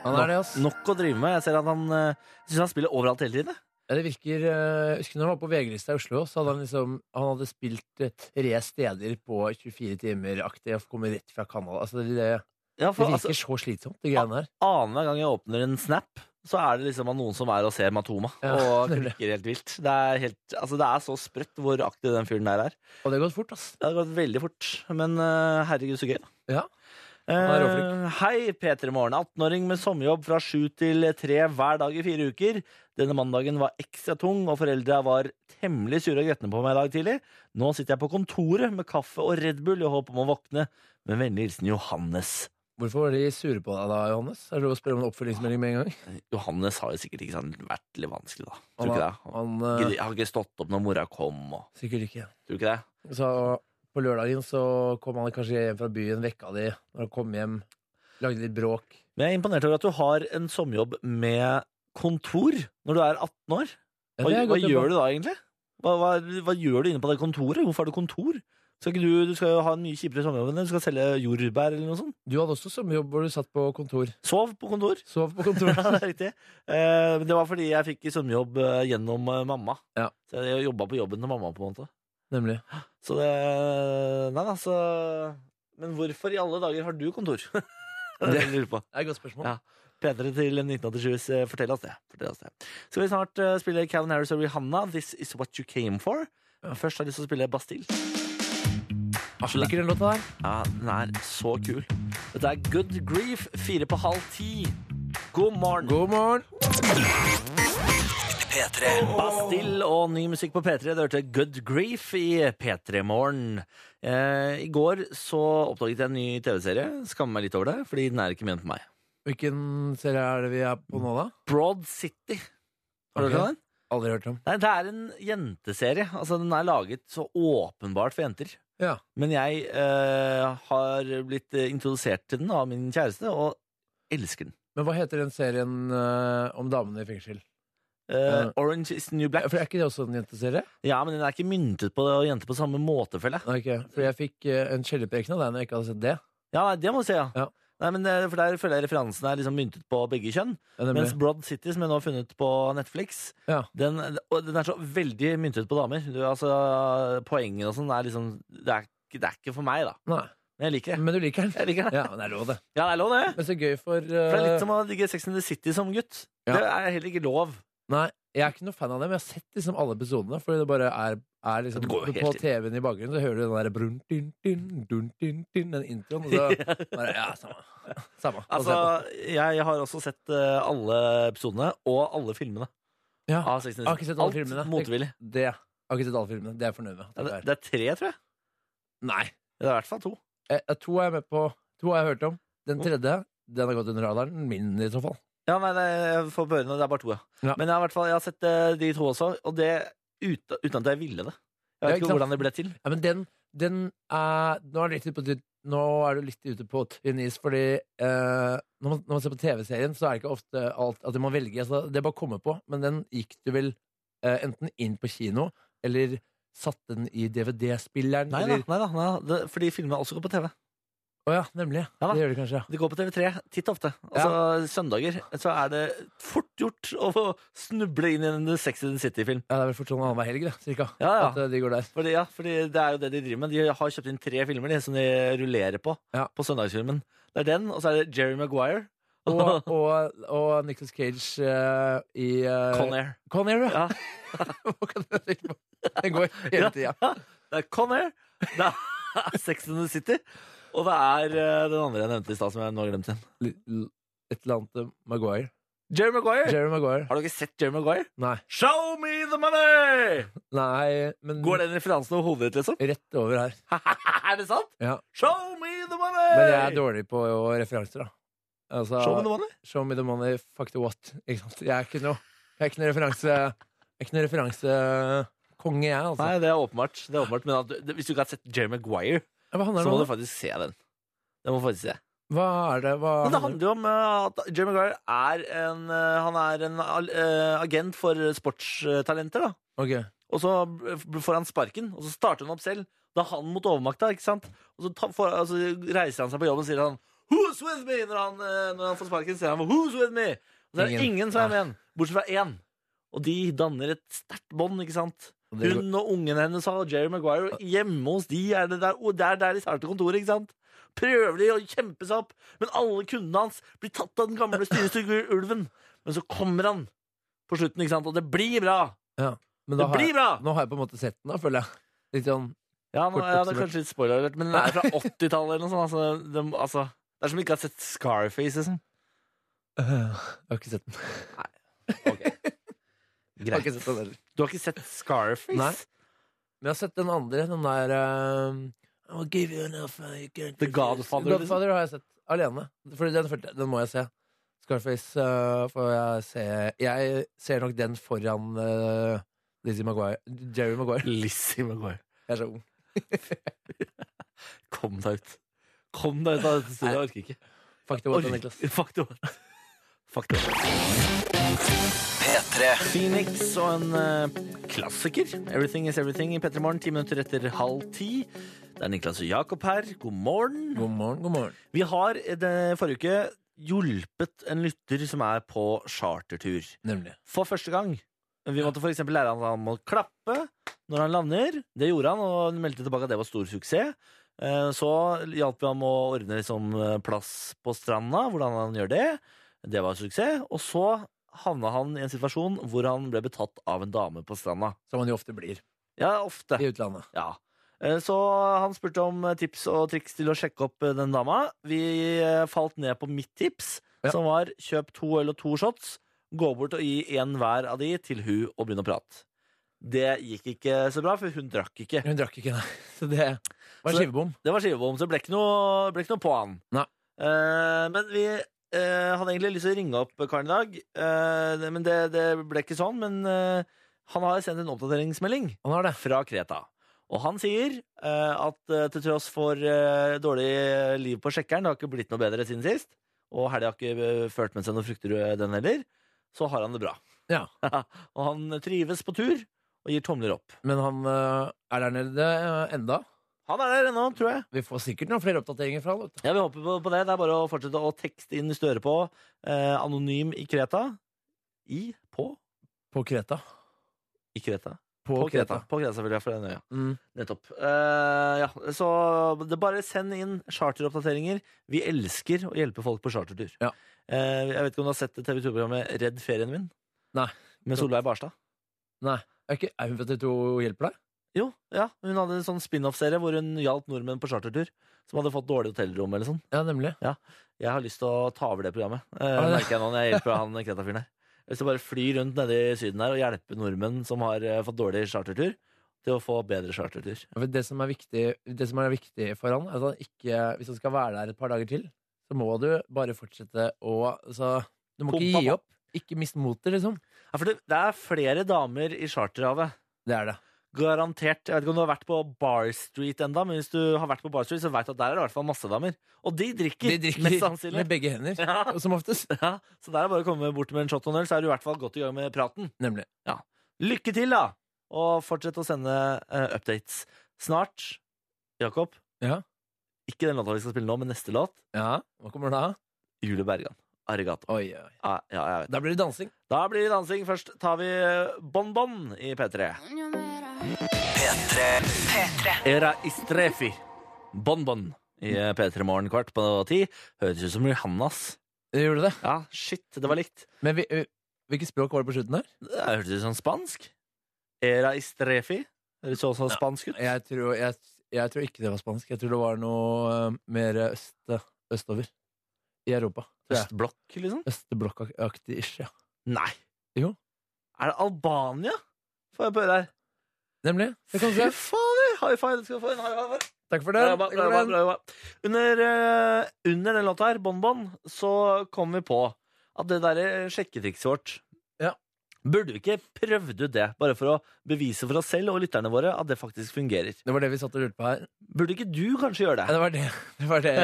Han er det, ass.
Nok å drive med. Jeg ser at han, eh, jeg synes han spiller overalt hele tiden. jeg.
Ja, det virker eh, Jeg husker når han var på VG-lista i Oslo, så hadde han liksom Han hadde spilt eh, tre steder på 24 timer aktig og kommet rett fra Canada. Altså det, det
Ja,
Det
for altså,
virker så slitsomt, de greiene her.
Annenhver gang jeg åpner en snap, så er det liksom av noen som er og ser Matoma.
Ja,
Ah, og
det er det.
klikker helt vilt. Det er, helt, altså, det er så sprøtt hvor aktiv den fyren der er.
Og det har gått fort, ass.
Det har gått veldig fort, men eh, herregud, så gøy. da.
Ja. er
Eh,
råflink.
hei, P3 Morgen. 18-åring med sommerjobb fra sju til tre hver dag i fire uker. Denne mandagen var ekstra tung, og foreldra var temmelig sure og gretne på meg i dag tidlig. Nå sitter jeg på kontoret med kaffe og Red Bull i håp om å våkne. Med vennlig hilsen Johannes.
Hvorfor var de sure på deg da, Johannes? Er det lov å spørre om en oppfølgingsmelding med en gang?
Johannes har jo sikkert ikke sånn vært litt vanskelig, da.
Han
Tror ikke
har-
det. Han
Han,
har
eh,
ikke- har ikke stått opp når mora kom og
sikkert ikke.
Tror ikke det.
Så på lørdagen så kom han kanskje hjem fra byen, vekka de når han kom hjem, lagde litt bråk.
Men jeg er imponert over at du har en sommerjobb med kontor når du er 18 år.
Ja,
Hva,
det er
hva
godt jobba.
gjør du da, egentlig? Hva, hva, hva gjør du inne på det kontoret? Hvorfor har du kontor? Skal ikke du, du skal jo ha en mye kjipere sommerjobb enn det. Du skal selge jordbær eller noe sånt.
Du hadde også sommerjobb hvor du satt på kontor.
Sov på kontor.
Sov på
Ja,
kontor.
det er riktig. Eh, men det var fordi jeg fikk sommerjobb eh, gjennom eh, mamma.
Ja.
Så jeg jobba på jobben til mamma, på en måte.
Nemlig.
Så det Nei, altså Men hvorfor i alle dager har du kontor? det er det jeg lurer på.
Det er et godt spørsmål.
Ja. P3 til 1987, eh, fortell oss det. Fortell oss det. Skal vi snart eh, spille Calvin Harris og Rihanna, This Is What You Came For. Først har jeg lyst til å spille Bastille.
Jeg liker den låta der.
Ja, den er så kul. Dette er Good Grief, fire på halv ti. God morgen.
God morgen.
P3.
Bastille og ny musikk på P3. Du hørte Good Grief i P3 Morgen. Eh, I går så oppdaget jeg en ny TV-serie. Skammer meg litt over det, fordi den er ikke ment for meg.
Hvilken serie er det vi er på nå, da?
Broad City. Har du hørt
Ok.
om den?
Aldri hørt om.
Nei, det er en jenteserie. Altså, den er laget så åpenbart for jenter.
Ja.
Men jeg eh, har blitt eh, introdusert til den av min kjæreste, og elsker den.
Men hva heter den serien eh, om damene i fengsel?
Eh,
Ja.
Orange is the new black.
For er ikke det også en jenteserie?
Ja, men den er ikke myntet på jenter på samme måte, føler jeg.
Nei, ikke. For jeg fikk eh, en skjellepreken av deg når jeg ikke hadde sett det.
Ja, nei, det må du si, ja.
Ja.
Nei, men eh, for Der føler jeg referansen er liksom myntet på begge kjønn.
Ja, nemlig.
Mens Broad City, som jeg nå har funnet på Netflix,
Ja.
den, og den er så veldig myntet på damer. Du, altså, Poenget og sånn er liksom det er, ikke- det er ikke for meg, da.
Nei.
Men jeg liker det.
Men du liker den?
Jeg liker det.
Mm. Ja, men det er lov, det.
Ja, det er lov, det.
Men så gøy
For
for
det er
eh,
litt som å digge Sex and the City som gutt.
Ja.
Det er heller ikke lov.
Nei, jeg er ikke noe fan av det, men jeg har sett liksom alle episodene. Fordi det bare er, er liksom
Det går jo helt
På
inn.
TV-en i bakgrunnen så hører du den der brun, din, din, dun, din, din, Den introen, og så bare Ja, samme. Samme. Da
Altså, jeg har også sett eh, alle episodene og alle filmene
ser jeg på. ja.
av Sex and the
Jeg
City.
har ikke sett alle
Alt
filmene.
motvillig.
Det jeg har ikke sett alle filmene. Det er jeg fornøyd med.
Ja, Det,
Det er.
det er tre, tror jeg.
Nei.
Det er i hvert fall to.
Eh, eh, to er jeg med på. To har jeg hørt om. Den tredje, den har gått under radaren. Min, i så fall.
Ja, nei, det, jeg får børene, det er bare to, ja.
Ja.
Men jeg har, i hvert fall, jeg har sett eh, de to også, og det uten, uten at jeg ville det. Jeg
Ja,
vet
ikke
ikke
sant?
hvordan det ble til.
Ja, men den, den er Nå er du litt ute på, tynt- nå er du litt ute på tynn is, fordi eh, når, man, når man ser på TV-serien, så er det ikke ofte alt at man velger. Altså, det er bare å komme på. Men den gikk du vel eh, enten inn på kino, eller satte den i DVD-spilleren,
Nei da,
eller
nei da, nei da. Det, fordi filmene også går på TV.
Å ja, nemlig.
Ja da.
det gjør det kanskje. ja.
De går på TV3 titt og ofte. Altså søndager. Så er det fort gjort å få snuble inn i en Sex and the City-film.
Ja, Det er vel fortsatt annenhver helg, det, cirka.
Ja, ja.
At eh, de går der.
Fordi, ja, fordi det er jo det de driver med. De har kjøpt inn tre filmer de, som de rullerer på.
Ja.
På søndagsfilmen. Det er den, og så er det Jerry Maguire.
Og, og, og Nicholas Cage eh, i eh,
Con Air.
Con Air, ja.
Ja.
Hva kan jeg tenke på? Den går hele
Ja.
tida.
Det er Con Air, det er Sex and the City, og det er eh, den andre jeg nevnte i stad, som jeg nå har glemt igjen.
Et eller annet eh, Maguire.
Jerry Maguire!
Jerry Maguire.
Har du ikke sett Jerry Maguire?
Nei.
Show me the money!
Nei, men
Går den referansen over hodet ditt, liksom?
rett over her.
er det sant?
Ja.
Show me the money!
Men jeg er dårlig på referanser, da. Altså,
Show me the money?
show me the money, fuck the what. Ikke sant? Jeg er ikke noe Jeg er ikke noe referanse Jeg er ikke noe referansekonge, jeg, altså.
Nei, det er åpenbart. Det er åpenbart men at du, hvis du ikke har sett Jerry Maguire,
Ja, Hva handler
så
det
må
om?
du faktisk se den. Det må du faktisk se.
da? Hva er det? Hva
Men det
handler det om?
handler jo om eh, at Jerry Maguire er en, eh, han er en al- eh, agent for sportstalenter, da.
Ok.
Og så b- får han sparken, og så starter han opp selv. Da er han mot overmakta, ikke sant? Og så ta, får, altså, reiser han seg på jobb og sier han Who's with me? Når han, eh, når han får sparken, sier han Who's with me? Og så er det ingen,
Ingen.
som er med igjen, bortsett fra én. Og de danner et sterkt bånd, ikke sant?
Og det-
Hun og ungen hennes og Jerry Maguire og hjemme hos de er det der, og det er der de starter kontoret, ikke sant? prøver de å kjempe seg opp, men alle kundene hans blir tatt av den gamle styrestygeulven. Men så kommer han på slutten, ikke sant? og det blir bra!
Men
Det
da har
blir
jeg,
bra!
nå har jeg på en måmåte sett den, da, føler jeg. Litt sånn
Ja, nå,
Kort
ja, det er
oppsummert.
kanskje litt spoiler-alert, men det er fra 80-tallet eller noe sånt. Altså, det, altså, det er som ikke har sett Scarface, liksom.
øh, Jeg har ikke sett den. Jeg har
Greit.
ikke sett den heller.
Du har ikke sett Scarface?
Nei. Men jeg har sett den andre, den der øh, I'll give you enough, uh, you can't
The
refuse.
Godfather, liksom.
Godfather har jeg sett alene. Fordi den, følte jeg- den må jeg se. Scarface øh, får jeg se Jeg ser nok den foran øh, Lizzie Maguire. Jerry Maguire.
Lizzie McGuire.
Jeg er så ung.
Kom deg ut. Kom deg ut av dette studioet. Jeg orker ikke.
Fuck det, Walter
Orker-
Niklas.
Fuck det. what? Fuck det. what?
P3.
Phoenix og en eh, klassiker. Everything is everything i P3 Morgen, ti minutter etter halv ti. Det er Niklas og Jakob her. God morgen.
God morgen, god morgen.
Vi har eh, det forrige uke hjulpet en lytter som er på chartertur.
Nemlig.
For første gang. Vi måtte for eksempel lære han at han må klappe når han lander. Det gjorde han, og han meldte tilbake at det var stor suksess. Eh, Så hjalp vi ham å ordne liksom eh, plass på stranda, hvordan han gjør det. Det var suksess. Og så havna han i en situasjon hvor han ble betatt av en dame på stranda.
Som man jo ofte blir
Ja, ofte.
i utlandet.
Ja. Eh, Så han spurte om eh, tips og triks til å sjekke opp eh, den dama. Vi eh, falt ned på mitt tips,
Ja.
som var kjøp to øl og to shots, gå bort og gi en hver av de til hun og begynne å prate. Det gikk ikke så bra, for hun drakk ikke.
Hun drakk ikke, nei. Så det var
Så-
skivebom.
Det var skivebom, så det ble ikke noe, ble ikke noe på han.
Nei.
Eh, men vi eh, hadde egentlig lyst til å ringe opp karen i dag, eh, det- men det, det ble ikke sånn. Men eh, han har sendt en oppdateringsmelding
Han har det.
fra Kreta. Og han sier eh, at eh, til tross for eh, dårlig liv på sjekkeren, det har ikke blitt noe bedre siden sist, og helga har ikke eh, ført med seg noen frukter, eh, den heller, så har han det bra.
Ja.
og han trives på tur og gir tomler opp.
Men han øh, er der nede øh, enda.
Han er der ennå, tror jeg.
Vi får sikkert noen flere oppdateringer fra han. vet du.
Ja, Vi håper på, på det. Det er bare å fortsette å tekste inn hvis du hører på. Eh, anonym i Kreta. I? På?
På Kreta.
I Kreta.
På, Kreta.
På Kreta, selvfølgelig. For det er en øya.
Mm.
Nettopp. Eh, ja, så det bare send inn charteroppdateringer. Vi elsker å hjelpe folk på chartertur.
Ja.
Eh, jeg vet ikke om du har sett TV 2-programmet Redd ferien min?
Nei.
Med Solveig Barstad?
Er, ikke, er hun vet du hun hjelper deg?
Jo, ja. Hun hadde en sånn spin-off-serie hvor hun hjalp nordmenn på chartertur. Som hadde fått dårlig hotellrom eller sånn.
Ja, nemlig.
Jeg har lyst til å ta over det programmet. Eh,
det?
merker jeg nå når jeg hjelper han kreta-fyren her. Jeg vil bare fly rundt nede i Syden her og hjelpe nordmenn som har eh, fått dårlig chartertur, til å få bedre chartertur.
For Det som er viktig, det som er viktig for han, er at han ikke Hvis han skal være der et par dager til, så må du bare fortsette å altså, Du må
Pumpa
ikke gi
på.
opp. Ikke mist motet, liksom.
Ja, for det, det er flere damer i charterhavet.
Det er det.
Garantert. Jeg vet ikke om du har vært på Bar Street enda, men hvis du har vært på Bar Street, så vet du at der er det i hvert fall masse damer. Og de drikker,
De
mest
drikker
sannsynlig.
med begge hender.
Ja,
Som oftest.
ja. Så der er det bare å komme bort med en shot og en øl, så er du i hvert fall godt i gang med praten.
Nemlig.
Lykke til, da! Og fortsett å sende eh, updates. Snart, Jakob
Ja.
Ikke den låta vi skal spille nå, men neste låt.
Ja, Hva kommer da?
Julie Bergan. Arigato.
Oi, oi.
Ja, ja, jeg vet.
Da blir det dansing.
Da blir det dansing. Først tar vi eh, Bon Bon i P3. Era Istrefi. Bon Bon i P3 Morgen kvart på ti. Høres ut som Johannas.
Gjorde det?
Ja, shit, det var likt.
Men vi, øh, hvilket språk var det på slutten her?
Det hørtes ut som spansk. Era Istrefi. Det så også spansk ut.
Jeg tror, jeg, jeg tror ikke det var spansk. Jeg tror det var noe øh, mer øst, østover i Europa. tror jeg.
Østblokk, liksom.
Østblokkaktig ish, ja.
Nei.
Jo.
Er det Albania? Får jeg på høre her.
Nemlig. Det kan du se.
fader! High five. Du skal få en high five.
Takk for
Bra
den.
jobba,
Takk
bra
for
jobba,
den.
bra jobba. Under, eh, under den låta her, Bon Bon, så kom vi på at det derre sjekketrikset vårt
Ja.
Burde vi ikke prøvd ut det, bare for å bevise for oss selv og lytterne våre at det faktisk fungerer?
Det var det vi satt og lurte på her.
Burde ikke du kanskje gjøre
Ja,
det?
det, var det. Det, var det.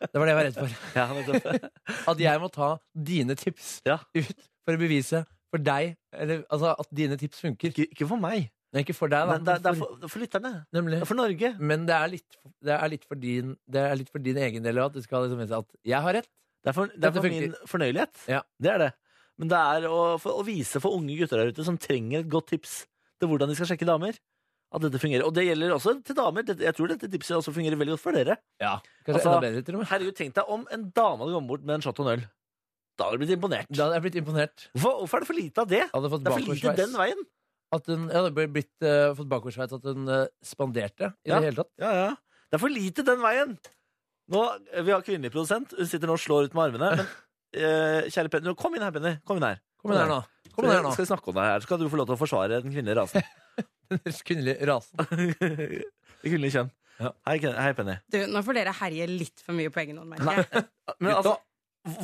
det var det jeg var redd for.
Ja, nettopp.
At jeg må ta dine tips
Ja.
ut for å bevise for deg eller, altså, at dine tips funker.
ikke, ikke for meg,
Nei, ikke for deg, da.
men det, er- det er
for,
for, det er for lytterne.
nemlig.
Det er for Norge.
Men det er litt, det er litt, for, din, det er litt for din egen del og at du skal liksom vise at jeg har rett.
Det er for, det er
Dette
for
funker.
min fornøyelighet.
Ja.
Det er det. Men det er å, for, å vise for unge gutter der ute som trenger et godt tips til hvordan de skal sjekke damer, at dette fungerer. Og det gjelder også til damer. Dette- Jeg tror dette tipset også fungerer veldig godt for dere.
Ja. Kanskje
Altså,
enda bedre, til og med.
Herregud, tenk deg om en dame hadde kommet bort med en shot og en øl. Da hadde du blitt imponert.
Da hadde jeg blitt imponert.
Hvorfor, hvorfor er det for lite av det?
Jeg hadde fått
Det er for lite den
bakoversveis.
veien.
At hun jeg hadde bare blitt, eh, fått bakoversveis at hun eh, spanderte i
Ja.
det hele tatt.
Ja, ja. Det er for lite den veien. Nå, vi har kvinnelig produsent. Hun sitter nå og slår ut med armene. Men, eh, kjære Penny, nå, kom inn her, Penny. Kom inn her.
Kom igjen her nå. Kom igjen her nå.
Skal vi snakke om deg her, så skal du få lov til å forsvare den kvinnelige rasen.
Kvinnelig rase.
det kvinnelige kjønn.
Ja.
Hei, Ken- hei, Penny.
Du, nå får dere herje litt for mye på egen hånd, merker jeg.
Men altså,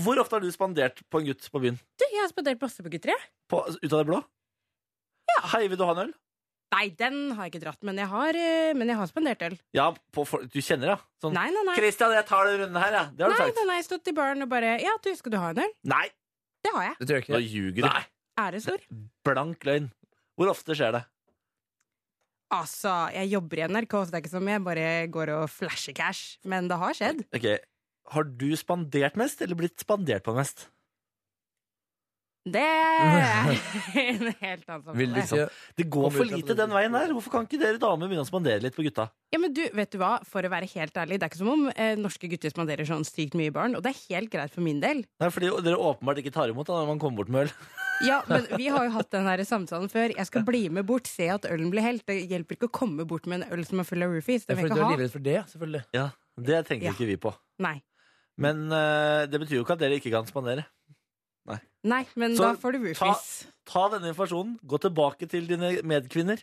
hvor ofte har du spandert på en gutt på byen?
Du, jeg har spandert masse på gutter, jeg.
På, ut av det blå? Hei, vil du ha en øl?
Nei, den har jeg ikke dratt, men jeg har, eh, men jeg har spandert øl.
Ja, på, folk- du kjenner, ja? Sånn.
Nei, nei, nei.
Christian, jeg tar den runden her, ja. Det har
Nei,
du sagt.
nei, nei, stått i baren og bare Ja, du, skal du ha en øl?
Nei,
Det har jeg.
Det tror jeg
nå
ikke.
ljuger du.
Æresord.
Blank løgn. Hvor ofte skjer det?
Altså, jeg jobber i NRK, så det er ikke som jeg bare går og flasher cash. Men det har skjedd.
Ok, Har du spandert mest, eller blitt spandert på mest?
Det er en helt annen
Vil du
samtale.
ikke
Det går
Kommer
for
ut at
lite
det-
den veien der. Hvorfor kan ikke dere damer begynne å spandere litt på gutta?
Ja, men du, vet du hva? For å være helt ærlig, det er ikke som om eh, norske gutter spanderer sånn sykt mye i baren, og det er helt greit for min del.
Nei, fordi dere åpenbart ikke tar imot da, når man kommer bort med øl.
Ja, men vi har jo hatt den her samtalen før. Jeg skal bli med bort, se at ølen blir helt. Det hjelper ikke å komme bort med en øl som er full av roofies.
Ja,
Det vil
for
jeg
Du er
ikke ha.
livredd for det, selvfølgelig.
Det tenker
Ja.
ikke vi på.
Nei.
Men eh, det betyr jo ikke at dere ikke kan spandere.
Nei, men
Så
da får du
ta-
roofies.
Ta denne informasjonen, gå tilbake til dine medkvinner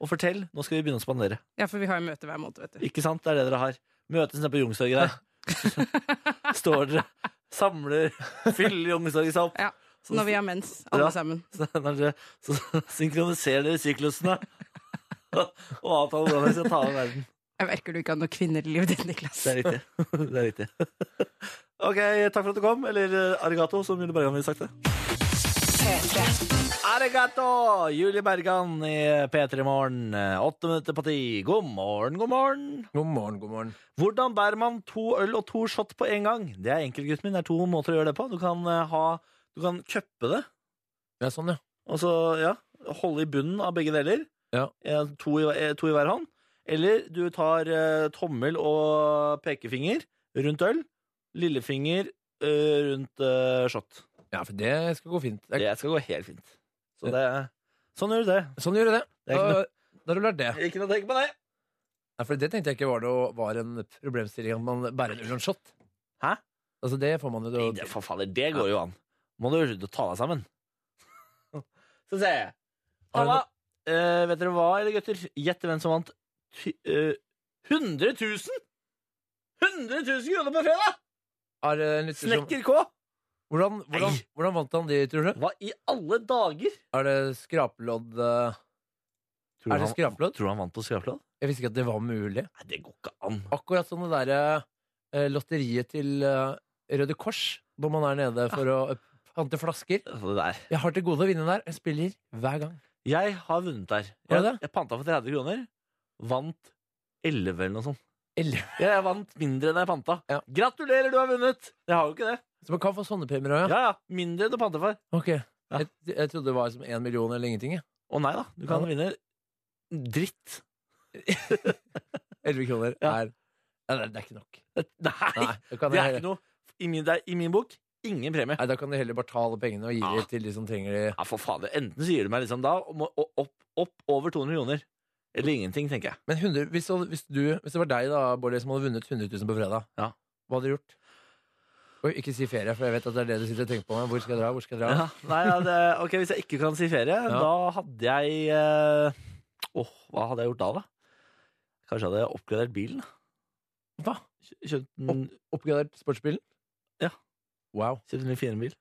og fortell. Nå skal vi begynne å spandere.
Ja, for vi har jo møte hver måned, vet du.
Ikke sant? Det er det dere har. Møtes nede på Youngstorget der. Står dere, samler, fyller Youngstorget seg opp.
Ja,
Så-
Når vi har mens,
Ja.
alle sammen.
Så, når dere, så synkroniserer dere syklusene og avtaler hvordan dere skal ta over verden.
Jeg merker du ikke har noe kvinneliv i denne
Det
klassen.
er riktig. Det er riktig. Ok, takk for at du kom. Eller eh, arigato, som Julie Bergan ville sagt det. Arigato! Julie Bergan i P3 Morgen. Eh, Åtte minutter på ti. God morgen, god morgen.
God morgen, god morgen.
Hvordan bærer man to øl og to shot på en gang? Det er enkelt, gutten min. Det er to måter å gjøre det på. Du kan eh, ha Du kan cuppe det.
Ja, sånn, ja.
Og så, ja, holde i bunnen av begge deler.
Ja.
Eh, To, i, eh, to i hver hånd. Eller du tar eh, tommel og pekefinger rundt øl, lillefinger eh, rundt eh, shot.
Ja, for det skal gå fint. Jeg,
Det skal gå helt fint. Så det, sånn gjør du det.
Sånn gjør du det.
Det er ikke
Da, da har du lært det.
Ikke noe å tenke på det.
Nei, for det tenkte jeg ikke var, det, var en problemstilling at man bærer en ullshot.
Hæ?
Altså, det får man jo
Nei, det, for fader, det går jo an. Må du slutte å ta deg sammen. Skal vi se.
Har du
Hanna, eh, vet dere hva, eller gutter? Gjett hvem som vant ty, eh, 100 000! 100 000 kroner på fredag!
Er det en lytter som-
Snekker K!
Hvordan, hvordan,
Nei.
hvordan vant han de, tror du?
Hva i alle dager?
Er det skrapelodd eh, Er det skrapelodd?
tror du han vant på skrapelodd?
Jeg visste ikke at det var mulig.
Nei, det går ikke an.
Akkurat som det derre eh, lotteriet til eh, Røde Kors når man er nede for å
Ah.
eh, pante flasker.
Altså, det der.
Jeg har til gode å vinne der. Jeg spiller hver gang.
Jeg har vunnet der.
Har du
Jeg,
det?
jeg panta for 30 kroner. Vant 11 eller noe sånt.
Eller,
Ja, Jeg vant mindre enn jeg panta.
Ja.
Gratulerer, du har vunnet! Jeg har jo ikke det.
så man kan få sånne premier òg, ja.
Ja, ja, Mindre enn du panta for.
Ok. Jeg, jeg trodde det var som én million eller ingenting. jeg.
Å nei da, du kan
Ja.
vinne dritt.
11 kroner
Ja.
er Nei, det er- det er ikke nok.
Nei,
Nei, da kan
det er
jeg-
ikke noe i min, det er, i min bok ingen premie.
Nei, Da kan du heller bare ta alle pengene og gi
Ja.
det til de som trenger det.
Ja, for fader. Enten så gir du meg liksom da om å- å- opp, opp over 200 kroner, eller ingenting, tenker jeg.
Men 100, hvis, du- hvis, du, hvis det var deg da, Bård, som hadde vunnet 100 000 på fredag,
Ja.
hva hadde du gjort? Oi, ikke si ferie, for jeg vet at det er det du sitter og tenker på. nå. Hvor skal jeg dra? hvor skal jeg dra?
Ja, nei, ja, det, ok, Hvis jeg ikke kan si ferie, da hadde jeg eh, Åh, hva hadde jeg gjort da, da? Kanskje hadde jeg oppgradert bilen? da.
Hva?
Kjø- Kjøpt en,
Oppgradert sportsbilen?
Ja.
Wow.
kjøpt en litt finere bil.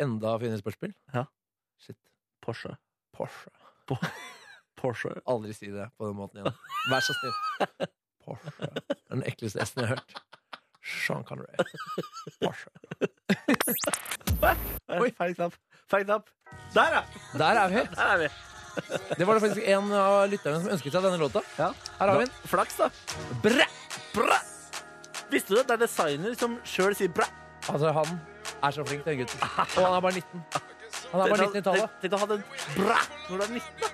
Enda finere sportsbil?
Ja.
Shit.
Porsche.
Porsche.
Porsche.
Aldri si det på den måten igjen. Vær så snill. Porsche. Det er den ekleste S-en jeg har hørt. Sean Connery. Porsche.
Oi, Eh, feil knapp. Feil knapp. Der, ja!
Der er vi.
Der er vi.
Det var det faktisk en av lytterne som ønsket seg denne låta.
Ja.
Her har vi den.
Da- Flaks, da. Bræ! Bræ! Visste du at det er designer som sjøl sier bræ?
Altså, han er så flink, den gutten. Og han er bare 19. Han er bare 19 i tallet.
Tenk å ha den bræ når du er 19, da.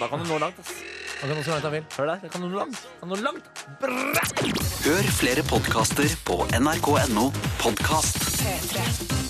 Da kan du nå langt, ass.
Han kan også være langt han vil.
Hør der, det kan noe langt. Det Kan noe langt.
Hør flere podkaster på nrk.no podkast.
3